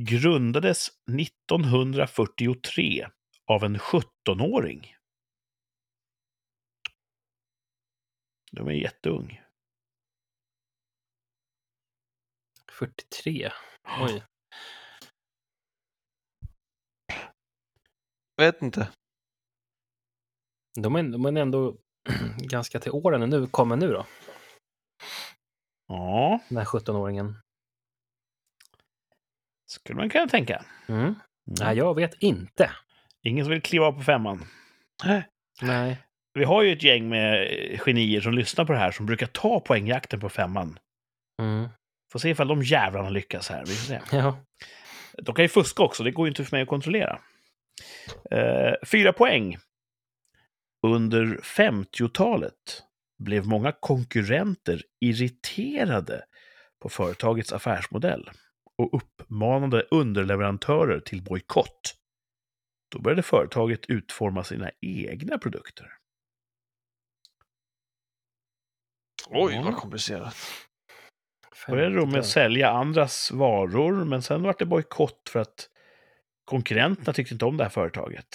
A: Grundades 1943 av en 17-åring. De är jätteung.
B: 43. Oj.
C: Vet inte.
B: De är, de är ändå *clears throat* ganska till åren nu. Kommer nu då,
A: Ja,
B: den här 17-åringen.
A: skulle man kunna tänka.
B: Mm. Nej, jag vet inte.
A: Ingen som vill kliva av på femman.
B: Nej.
A: Vi har ju ett gäng med eh, genier som lyssnar på det här som brukar ta poängjakten på femman.
B: Mm.
A: Får se ifall de jävlarna lyckas här. Vi får se.
B: Ja.
A: De kan ju fuska också, det går ju inte för mig att kontrollera. Eh, fyra poäng. Under 50-talet blev många konkurrenter irriterade på företagets affärsmodell och uppmanade underleverantörer till bojkott. Då började företaget utforma sina egna produkter.
C: Oj,
B: Ja.
C: vad komplicerat.
A: Började då med att sälja andras varor, men sen var det bojkott för att konkurrenterna tyckte inte om det här företaget.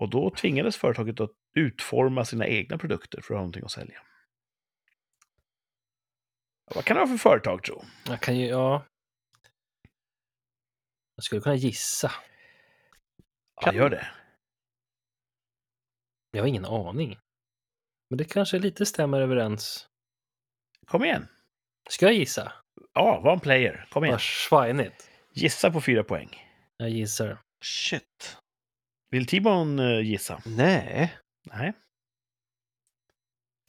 A: Och då tvingades företaget att utforma sina egna produkter för att ha någonting att sälja. Ja, Vad kan det vara för företag, tro?
B: Jag kan ju, ja. Jag skulle kunna gissa.
A: Ja, gör det.
B: Jag har ingen aning. Men det kanske lite stämmer överens.
A: Kom igen.
B: Ska jag gissa?
A: Ja, var en player. Kom igen.
B: Vad svajnigt.
A: Gissa på fyra poäng.
B: Jag gissar.
C: Shit.
A: Vill Timon eh, gissa?
C: Nej.
A: Nej.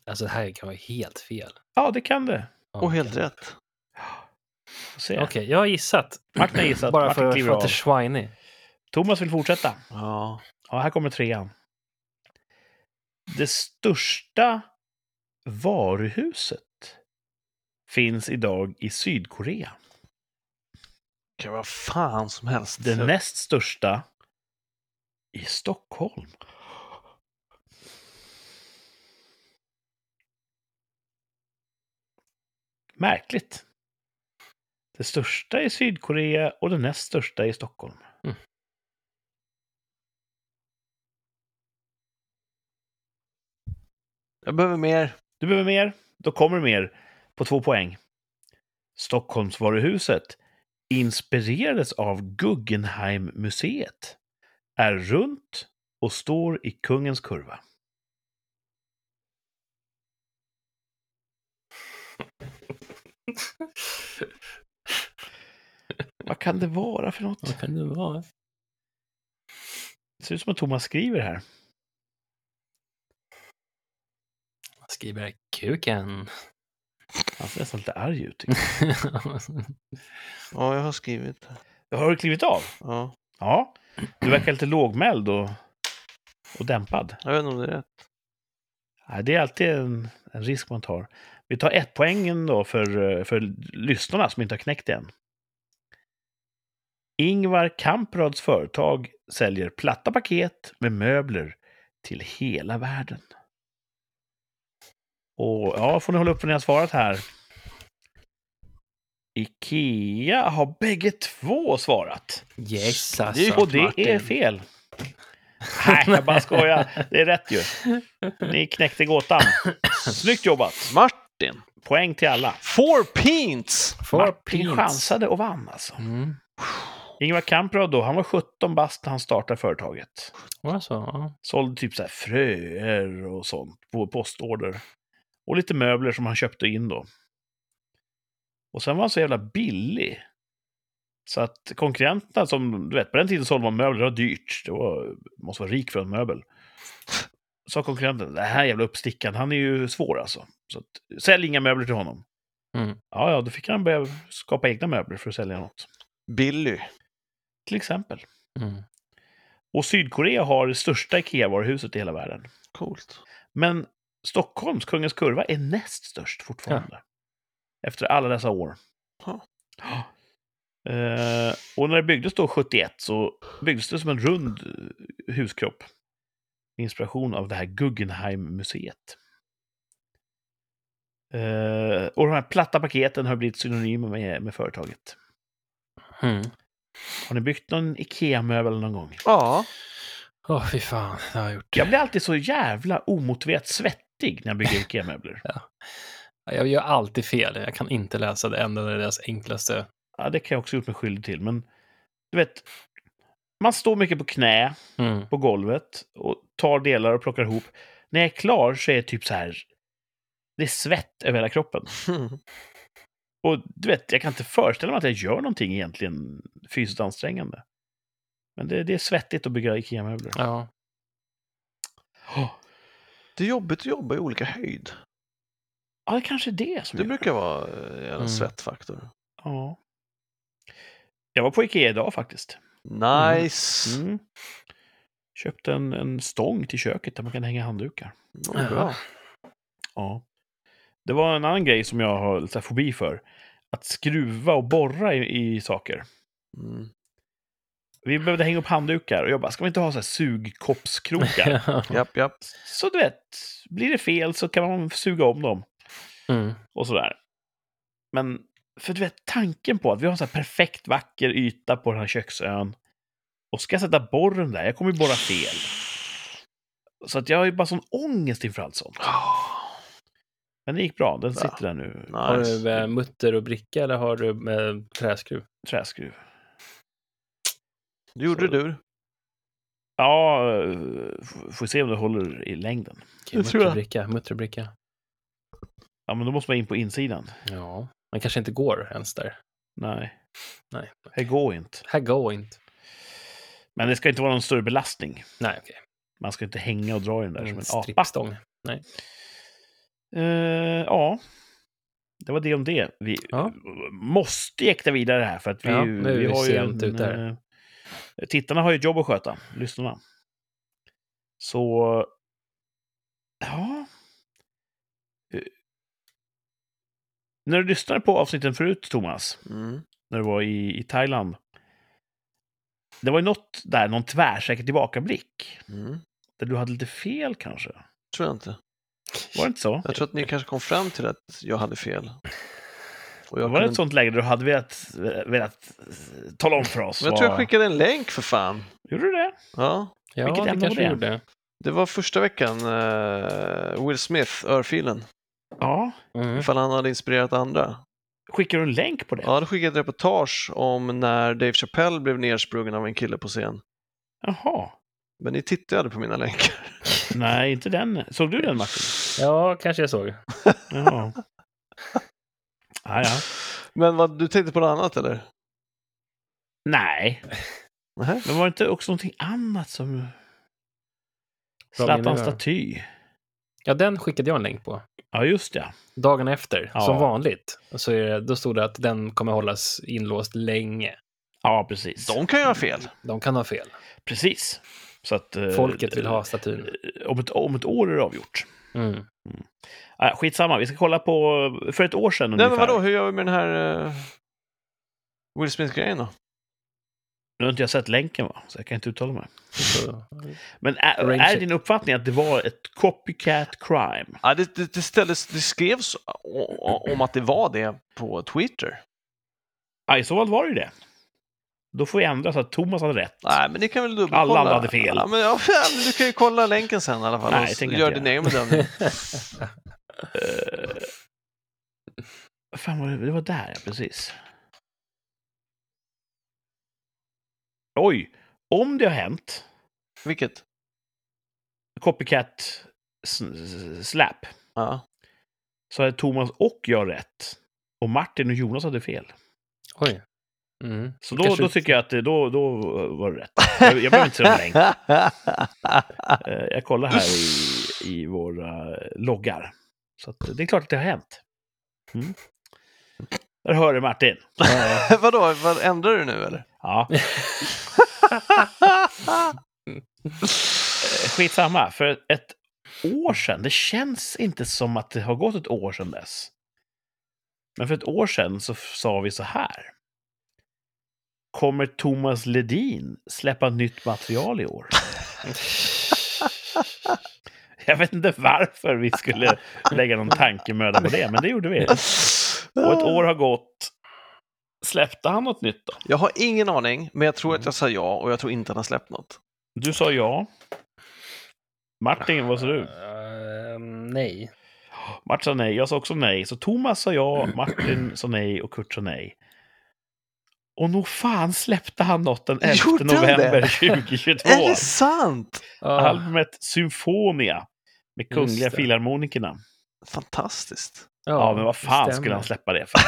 B: Alltså det här kan vara helt fel.
A: Ja, det kan det.
B: Ja,
C: Och helt
B: kan-
C: rätt.
A: Får se.
B: Okej, jag har gissat.
A: Martin har gissat.
B: Bara
A: Martin
B: för,
A: kliver
B: för att
A: av.
B: det är svajnigt.
A: Thomas vill fortsätta.
C: Ja.
A: Ja, här kommer trean. Det största varuhuset finns idag i Sydkorea.
C: Det kan vara fan som helst.
A: Den näst största i Stockholm. Märkligt. Det största i Sydkorea och den näst största i Stockholm.
B: Mm.
C: Jag behöver mer.
A: Du behöver mer? Då kommer det mer. På två poäng. Stockholmsvaruhuset inspirerades av Guggenheimmuseet. Är runt och står i Kungens kurva. Vad kan det vara för något?
B: kan det vara?
A: Det ser ut som att Thomas skriver här.
B: Jag skriver kuken. *laughs*
A: Han ser nästan lite arg ut. tycker jag.
C: Ja, jag har skrivit. det.
A: Har du klivit av?
C: Ja.
A: Ja. Du verkar lite lågmäld och, och dämpad.
C: Jag vet inte om det är rätt.
A: Nej, det är alltid en, en risk man tar. Vi tar ett poängen då för, eh, för lyssnarna som inte har knäckt det än. Ingvar Kamprads företag säljer platta paket med möbler till hela världen. Och ja, får ni hålla upp när ni har svarat här. Ikea har bägge två svarat.
B: yes,
C: Det är
B: alltså.
A: Och det är
C: Martin.
A: fel. *laughs* Nej, jag bara skojar. Det är rätt ju. Ni knäckte gåtan. Snyggt jobbat!
C: Martin!
A: Poäng till alla.
C: Four pints!
A: Martin chansade och vann alltså.
B: Mm.
A: Ingvar Kamprad då, han var 17 bast när han startade företaget.
B: Alltså, ja.
A: Sålde typ så här fröer och sånt på postorder. Och lite möbler som han köpte in då. Och sen var han så jävla billig. Så att konkurrenterna som, du vet, på den tiden sålde man möbler, det var dyrt. Det var, måste vara rik för en möbel. Sa konkurrenten, det här jävla uppstickaren, han är ju svår alltså. Så att, sälj inga möbler till honom.
B: Mm.
A: Ja, ja, då fick han börja skapa egna möbler för att sälja något.
C: Billy.
A: Till exempel.
B: Mm.
A: Och Sydkorea har det största IKEA-varuhuset i hela världen.
C: Coolt.
A: Men Stockholms Kungens Kurva är näst störst fortfarande. Efter alla dessa år.
C: Ja.
A: Ja. Eh, och när det byggdes då 71 så byggdes det som en rund eh, huskropp. Inspiration av det här Guggenheim-museet. Eh, och de här platta paketen har blivit synonymer med, med företaget.
B: Mm.
A: Har ni byggt någon IKEA-möbel någon gång?
C: *laughs* Ja.
B: Åh, fy fan. Det har jag gjort.
A: Jag blir alltid så jävla omotiverat svettig när jag bygger IKEA-möbler.
B: Jag gör alltid fel. Jag kan inte läsa det enda det är deras enklaste.
A: Ja, det kan jag också gjort mig skyldig till, men du vet, man står mycket på knä
B: Mm.
A: på golvet och tar delar och plockar ihop. När jag är klar så är det typ så här, det är svett över hela kroppen. Och du vet, jag kan inte föreställa mig att jag gör någonting egentligen fysiskt ansträngande. Men det, det är svettigt att bygga IKEA-möbler.
B: Ja.
C: Det är jobbigt att jobba i olika höjd.
A: Ja, det kanske är det som
C: Det
A: gör
C: brukar vara eh, en
B: Mm.
C: svettfaktor.
A: Ja. Jag var på IKEA idag faktiskt.
C: Nice!
A: Mm. Köpte en, en stång till köket där man kan hänga handdukar.
C: Ja, bra.
A: Ja. Det var en annan grej som jag har lite så här fobi för. Att skruva och borra i, i saker.
C: Mm.
A: Vi behövde hänga upp handdukar och jag bara, ska vi inte ha så här sugkoppskrokar?
B: *laughs*
C: Japp, japp.
A: så du vet, blir det fel så kan man suga om dem
B: Mm.
A: och sådär. Men, för du vet, tanken på att vi har en så här perfekt vacker yta på den här köksön och ska jag sätta borren där, jag kommer ju borra fel. Så att jag har ju bara sån ångest inför allt sånt.
C: Ah,
A: Men det gick bra, den sitter där nu.
B: Har
C: nice.
B: du eh, mutter och bricka eller har du med träskruv?
A: Träskruv.
C: Det gjorde
A: så-
C: du.
A: Ja, eh, f- får se om det håller i längden.
B: Okej,
C: Det tror
B: mutter
C: jag.
B: och bricka, mutter och bricka.
A: Ja, men då måste man in på insidan.
B: Ja, man kanske inte går ens där.
A: Nej,
B: Nej,
A: det går inte.
B: här går inte.
A: Men det ska inte vara någon större belastning.
B: Nej, okej.
A: Man ska inte hänga och dra i den
B: Mm,
A: där som en apa.
B: Strippstång.
A: Eh, ja, det var det om det. Vi
B: Ja.
A: måste jäkta vidare här för att vi,
B: Ja,
A: ju-
B: nu är
A: vi
B: vi
A: har ju
B: sent
A: en,
B: ute här.
A: eh, Tittarna har ju ett jobb att sköta, lyssnarna. Så... Ja. Eh, När du lyssnade på avsnitten förut, Thomas,
C: Mm.
A: när du var i, i Thailand. Det var ju något där, någon tvärsäker tillbakablick.
C: Mm.
A: Där du hade lite fel kanske.
C: Tror jag inte.
A: Var det inte så?
C: Jag tror att ni kanske kom fram till att jag hade fel. Och
A: var
C: jag
A: det
C: kunde-
A: ett sånt läge där du hade velat, velat eh, tala om för oss?
C: Men jag tror jag
A: vad-
C: skickade en länk för fan.
A: Gjorde du det?
C: Ja.
B: Ja,
A: Vilket
B: det
A: ämne
B: kanske
A: var det?
B: gjorde.
C: Det var första veckan eh, Will Smith, örfilen.
A: Ja.
B: Mm.
C: Ifall han hade inspirerat andra.
A: Skickade du en länk på det?
C: Ja, han skickade ett reportage om när Dave Chappelle blev nersprungen av en kille på scen.
A: Jaha.
C: Men ni tittade på mina länkar. *laughs*
A: Nej, inte den. Såg du den matchen?
B: Ja, kanske jag såg.
A: Jaha. Ja, ja.
C: Men vad, du tänkte på något annat eller?
A: Nej,
C: Nähä?
A: men var det inte också någonting annat som...
B: Bra
A: Zlatans
B: minne där.
A: staty.
B: Ja, den skickade jag en länk på.
A: Ja, just det.
B: Dagen efter,
A: Ja.
B: som vanligt, så är det, då stod det att den kommer hållas inlåst länge.
A: Ja, precis.
C: De kan ju ha fel.
B: De kan ha fel.
A: Precis. Så att, eh,
B: Folket vill ha
A: eh,
B: statyn.
A: Om ett, om ett år är det avgjort.
B: Mm.
A: Ah, skitsamma, vi ska kolla på... För ett år sedan
C: Nej, men
A: ungefär.
C: vadå, hur gör vi med den här eh, Will Smith-grejen då?
A: Nu har inte jag sett länken, va? så jag kan inte uttala mig.
B: Så, *laughs*
A: Men är,
B: Arrange
A: är
B: it.
A: din uppfattning att det var ett copycat crime?
C: Ja, det, det, det, ställdes, det skrevs o- o- om att det var det på Twitter.
A: Ja, i så fall var det ju det. Då får vi ändra så att Thomas hade rätt.
C: Nej, men ni kan väl dubbelkolla?
A: Alla andra hade fel.
C: Ja, men, ja, men du kan ju kolla länken sen i alla fall.
A: Nej,
C: och
A: jag
C: s-
A: tänker
C: gör
A: inte
C: din
A: *laughs*
C: egen bedömning.
A: Eh, vad fan var det? Det var där, ja, precis. Oj! Om det har hänt,
C: Vilket?
A: copycat s- s- slap,
C: Ja.
A: så hade Thomas och jag rätt. Och Martin och Jonas hade fel.
B: oj. Mm.
A: Så då,
B: Kanske
A: då
B: inte-
A: tycker jag att det- då, då var det rätt. Jag, jag behöver inte se någon länk. Eh, Jag kollar här i, i våra loggar. Så att det är klart att det har hänt. Mm. Där hör du Martin.
C: *laughs* Vadå, vad, ändrar du nu eller?
A: Ja, Eh, skitsamma. För ett år sedan, det känns inte som att det har gått ett år sedan dess. Men för ett år sedan så f- sa vi så här. Kommer Thomas Ledin släppa nytt material i år? Jag vet inte varför vi skulle lägga någon tankemöda på det, men det gjorde vi. Och ett år har gått. Släppte han något nytt då?
C: Jag har ingen aning, men jag tror att jag sa ja och jag tror inte han har släppt något.
A: Du sa ja. Martin, vad sa du?
B: Eh, nej.
A: Mart sa nej, jag sa också nej. Så Thomas sa ja, Martin sa nej och Kurt sa nej. Och nog fan släppte han något den 11
C: Gjorde han
A: november
C: det?
A: 2022.
C: Är det sant?
B: Ja.
A: Albumet Symfonia med Kungliga
B: det.
A: Filharmonikerna. *laughs*
C: Fantastiskt.
A: Ja, men vad fan
B: stämmer.
A: skulle han släppa det för?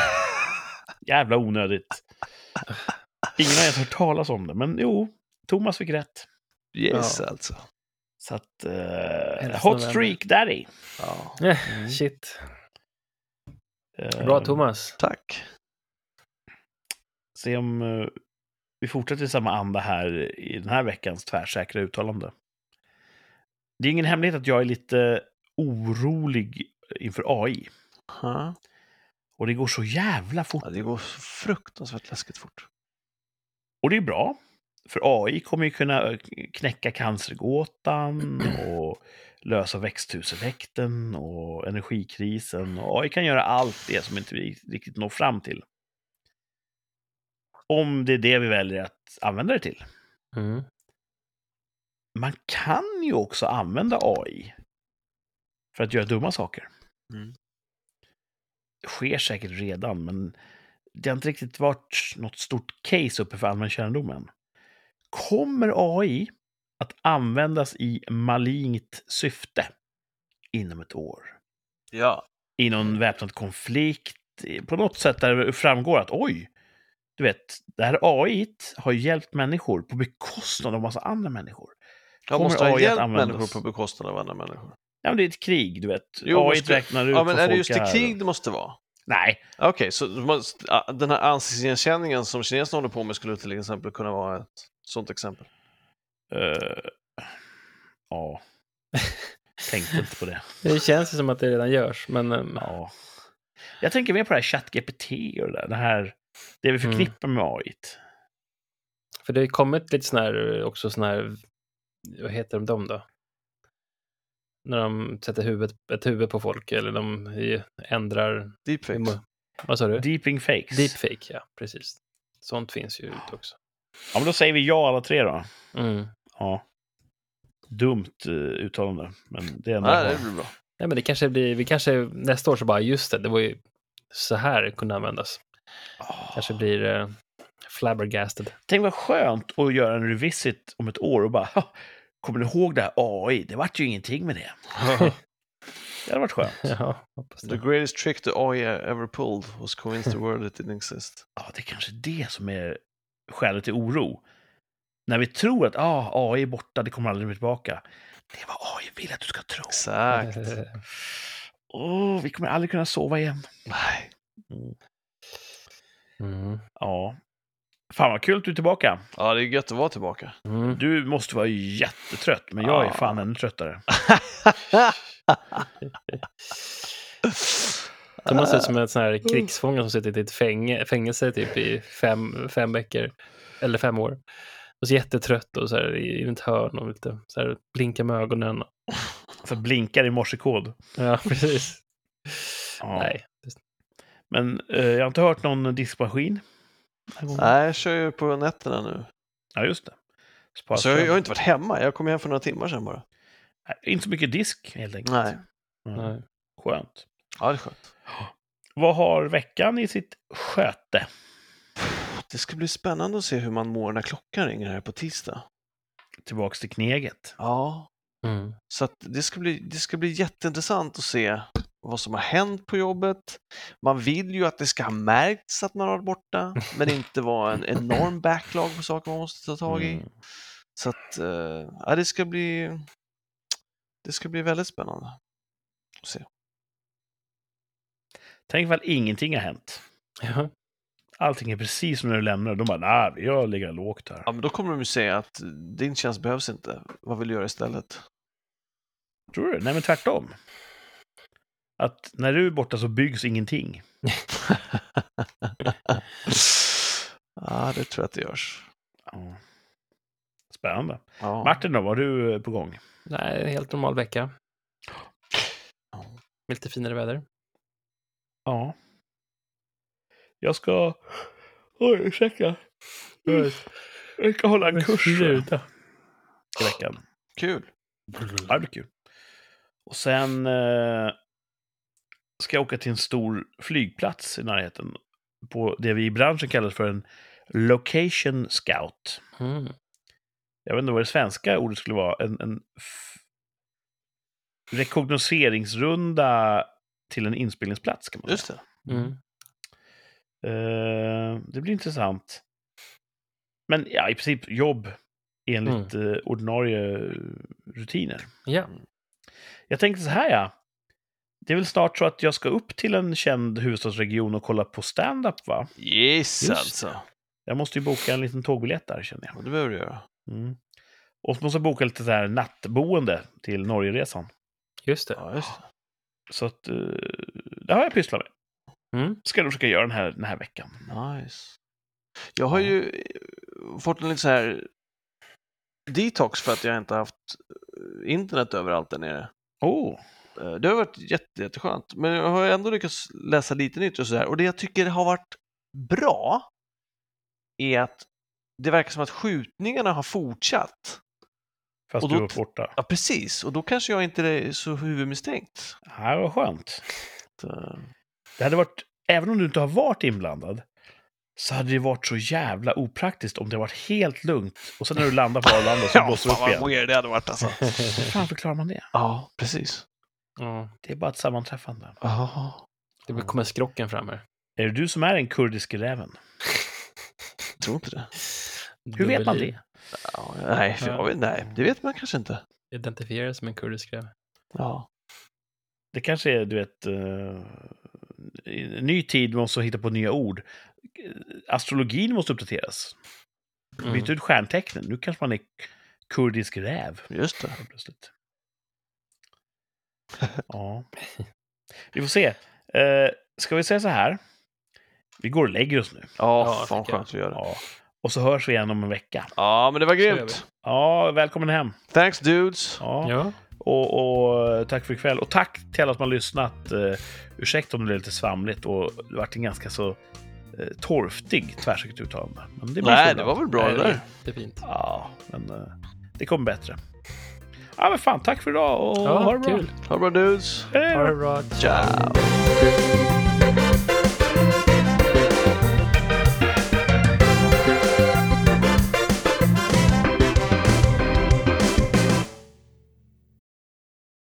A: Jävla onödigt. Ingen har ens hört talas om det, men jo, Thomas fick rätt.
C: Yes alltså.
A: Så att... Eh,
B: Elfte
A: hot
B: november.
A: streak där i.
C: Ja.
B: Eh, Shit.
A: Eh,
B: Bra Thomas.
C: Tack.
A: Se om eh, vi fortsätter i samma anda här i den här veckans tvärsäkra uttalande. Det är ingen hemlighet att jag är lite orolig inför AI.
C: Ja.
A: Och det går så jävla fort.
C: Ja, det går så fruktansvärt läskigt fort.
A: Och det är bra. För AI kommer ju kunna eh, knäcka cancergåtan och lösa växthuseffekten och energikrisen. Och AI kan göra allt det som inte vi riktigt når fram till. Om det är det vi väljer att använda det till.
B: Mm.
A: Man kan ju också använda AI för att göra dumma saker.
C: Mm.
A: Det sker säkert redan, men det har inte riktigt varit något stort case uppe för allmän kännedom än. Kommer AI att användas i malignt syfte inom ett år?
C: Ja.
A: I någon väpnad konflikt? På något sätt där det framgår att oj, du vet, det här AI t har hjälpt människor på bekostnad av massa andra människor.
C: Jag
A: Kommer
C: måste ha
A: AI att
C: hjälpt
A: användas?
C: människor på bekostnad av andra människor.
A: Ja, men det är ett krig, du vet.
C: Jo,
A: AI
C: måste-
A: räknar ut
C: Ja, men
A: vad
C: är det
A: folk
C: just i krig det måste vara?
A: Nej,
C: Okej, så du måste- ah, den här ansiktsigenkänningen som kineserna håller på med skulle till exempel kunna vara ett sånt exempel?
A: Eh, ja. Tänkte inte på det.
C: *laughs*
B: Det känns ju som att det redan görs, men... ehm,
A: Ja. Jag tänker mer på det här ChatGPT och det där, det här, det vi
C: Mm.
A: förknippar med AI.
B: För det har ju kommit lite sådana här, eh, också sådana här, vad heter de dem då? När de sätter huvudet, ett huvud på folk eller de i- ändrar...
C: Deepfakes.
B: Vad sa du?
A: Deeping fakes.
B: Deepfake, ja. Precis. Sånt finns ju ute också.
A: Ja, men då säger vi ja alla tre då.
B: Mm.
A: Ja. Dumt eh, uttalande, men det är ändå...
C: Nej, det blir bra.
B: Nej, men det kanske blir, vi kanske nästa år så bara, just det, det var ju så här det kunde användas.
A: Ah.
B: Kanske blir eh,
A: *laughs*
B: flabbergasted.
A: Tänk vad skönt att göra en revisit om ett år och bara "Ha, Kommer du ihåg det här AI? Det vart ju ingenting med
C: *laughs*
A: det. Det hade varit skönt.
B: ja, hoppas
C: The
B: det.
C: greatest trick the AI ever pulled was convinced the world it didn't exist.
A: Ja, det är kanske det som är skälet till oro. När vi tror att ah, AI är borta, det kommer aldrig mer tillbaka. Det är vad AI vill att du ska tro.
B: *laughs*
C: Exakt.
A: Åh, vi kommer aldrig kunna sova igen.
C: Nej.
B: Mm.
A: Ja. Fan vad kul att du är tillbaka.
C: Ja, det är gött att vara tillbaka.
B: Mm.
A: Du måste vara jättetrött, men jag är
C: Ja.
A: fan ännu tröttare.
B: Thomas ser ut som en sån
A: Mm.
B: här krigsfånge som suttit i ett fänge, fängelse typ i fem, fem veckor, eller fem år. Och så jättetrött och så här i i ett hörn och lite så här blinkar med ögonen.
A: Så blinkar i morsekod.
B: *laughs* Ja, precis.
A: Ja.
B: Nej.
A: Men eh, jag har inte hört någon diskmaskin. den här gången.
C: Nej, jag kör ju på nätterna nu.
A: Ja, just det. Spara
C: Så Alltså, jag, jag har
A: ström.
C: inte varit hemma. Jag kom hem för några timmar sedan bara.
A: Nej, Inte så mycket disk, helt enkelt.
C: Nej.
A: Mm.
B: Nej.
A: Skönt.
C: Ja, det är skönt.
A: Vad har veckan i sitt sköte?
C: Det ska bli spännande att se hur man mår när klockan ringer här på tisdag.
A: Tillbaks till kneget.
C: Ja,
B: Mm.
C: så att det, ska bli, det ska bli jätteintressant att se vad som har hänt på jobbet. Man vill ju att det ska ha märkts att man har varit borta, men inte vara en enorm backlog på saker man måste ta tag i.
A: Mm.
C: Så att, eh, ja, det ska bli, det ska bli väldigt spännande. att Se.
A: Tänk ifall ingenting har hänt.
B: Ja.
A: Allting är precis som när du lämnar. De bara, nej, vi har legat lågt här.
C: Ja, men då kommer de ju säga att din tjänst behövs inte. Vad vill du göra istället?
A: Tror du? Nej, men tvärtom. Att när du är borta så byggs ingenting.
C: Ja, det tror jag att det görs.
A: Ja. Spännande.
C: Ja.
A: Martin då, vad har du eh, på gång?
B: Nej, en helt normal vecka. Med lite finare väder.
A: Ja. Jag ska... Oj, ursäkta.
C: Mm.
A: Jag ska hålla en kurs tror jag, i veckan.
C: Kul.
A: Ja, det blir kul. Och sen eh, ska jag åka till en stor flygplats i närheten. På det vi i branschen kallar för en location scout.
B: Mm.
A: Jag vet inte vad det svenska ordet skulle vara. En, en f- rekognoseringsrunda till en inspelningsplats kan man säga.
C: Just det.
B: Mm.
A: Eh, det blir intressant. Men ja, i princip jobb enligt
C: Mm.
A: eh, ordinarie rutiner.
B: Ja.
A: Jag tänkte så här, ja. Det är väl snart så att jag ska upp till en känd huvudstadsregion och kolla på stand-up, va?
C: Yes,
B: Just
C: alltså.
A: Jag måste ju boka en liten tågbiljett där, känner jag.
C: Ja, Det behöver du göra.
A: Mm. Och så måste jag boka lite så här nattboende till Norgeresan.
B: Just det.
C: Ja, just det.
A: Så att, eh, det har jag pysslat med.
B: Mm.
A: *laughs* Ska jag försöka göra den här, den här veckan.
C: Nice. Jag har
A: Ja.
C: ju eh, fått en liten så här detox för att jag inte haft eh, internet överallt där nere.
A: Oh,
C: Eh, Det har varit jätte, jätteskönt, men jag har ändå lyckats läsa lite nytt och sådär. Och det jag tycker har varit bra är att det verkar som att skjutningarna har fortsatt.
A: fast
C: Och då-
A: du var borta.
C: Ja, precis. Och då kanske jag inte är så huvudmisstänkt.
A: Det här var skönt.
C: Att, eh,
A: Det hade varit, även om du inte har varit inblandad, så hade det varit så jävla opraktiskt om det hade varit helt lugnt och sen när du landar på Arlanda
C: *laughs*
A: så blåser det upp igen.
C: weird det hade varit alltså.
A: Hur fan förklarar man det?
C: Ja, precis.
B: ja.
A: Det är bara ett sammanträffande.
C: Ja,
B: Det blir- kommer skrocken fram här.
A: Är det du som är den kurdiske räven?
C: jag tror inte det.
A: Hur vet man
B: Dubbelliv.
A: det?
C: Ja, nej, för jag vet, nej, det vet man kanske inte.
B: Identifieras som en kurdisk räv.
C: Ja,
A: Det kanske är, du vet, eh, i en ny tid måste man hitta på nya ord. Astrologin måste uppdateras.
B: Mm.
A: Byt ut stjärntecknen. Nu kanske man är kurdisk räv.
C: just det.
A: helt plötsligt. Ja. Vi får se. Eh, ska vi säga så här? Vi går och lägger oss nu.
C: Ja,
B: Ja,
C: fan
B: tycker jag.
C: skönt att göra det.
A: Ja. Och så hörs vi igen om en vecka.
C: Ja, men det var
B: gör
C: grymt.
A: Ja, välkommen hem.
C: Thanks dudes.
A: Ja.
B: Ja.
A: Och, och tack för ikväll. Och tack till alla som har lyssnat. Eh, ursäkta om det är lite svamligt och det vart en ganska så eh, torftig tvärsäkert uttalande. Men det är bra
C: Nej,
A: skolan.
C: det var väl bra det där.
B: Det är fint.
A: Ja, men eh, det kommer bättre. Ja, men fan, tack för idag och
B: Ja,
A: ha det bra.
B: kul.
C: Ha det bra dudes.
A: Hej då.
B: Ha det bra.
C: Ciao.
B: Ciao.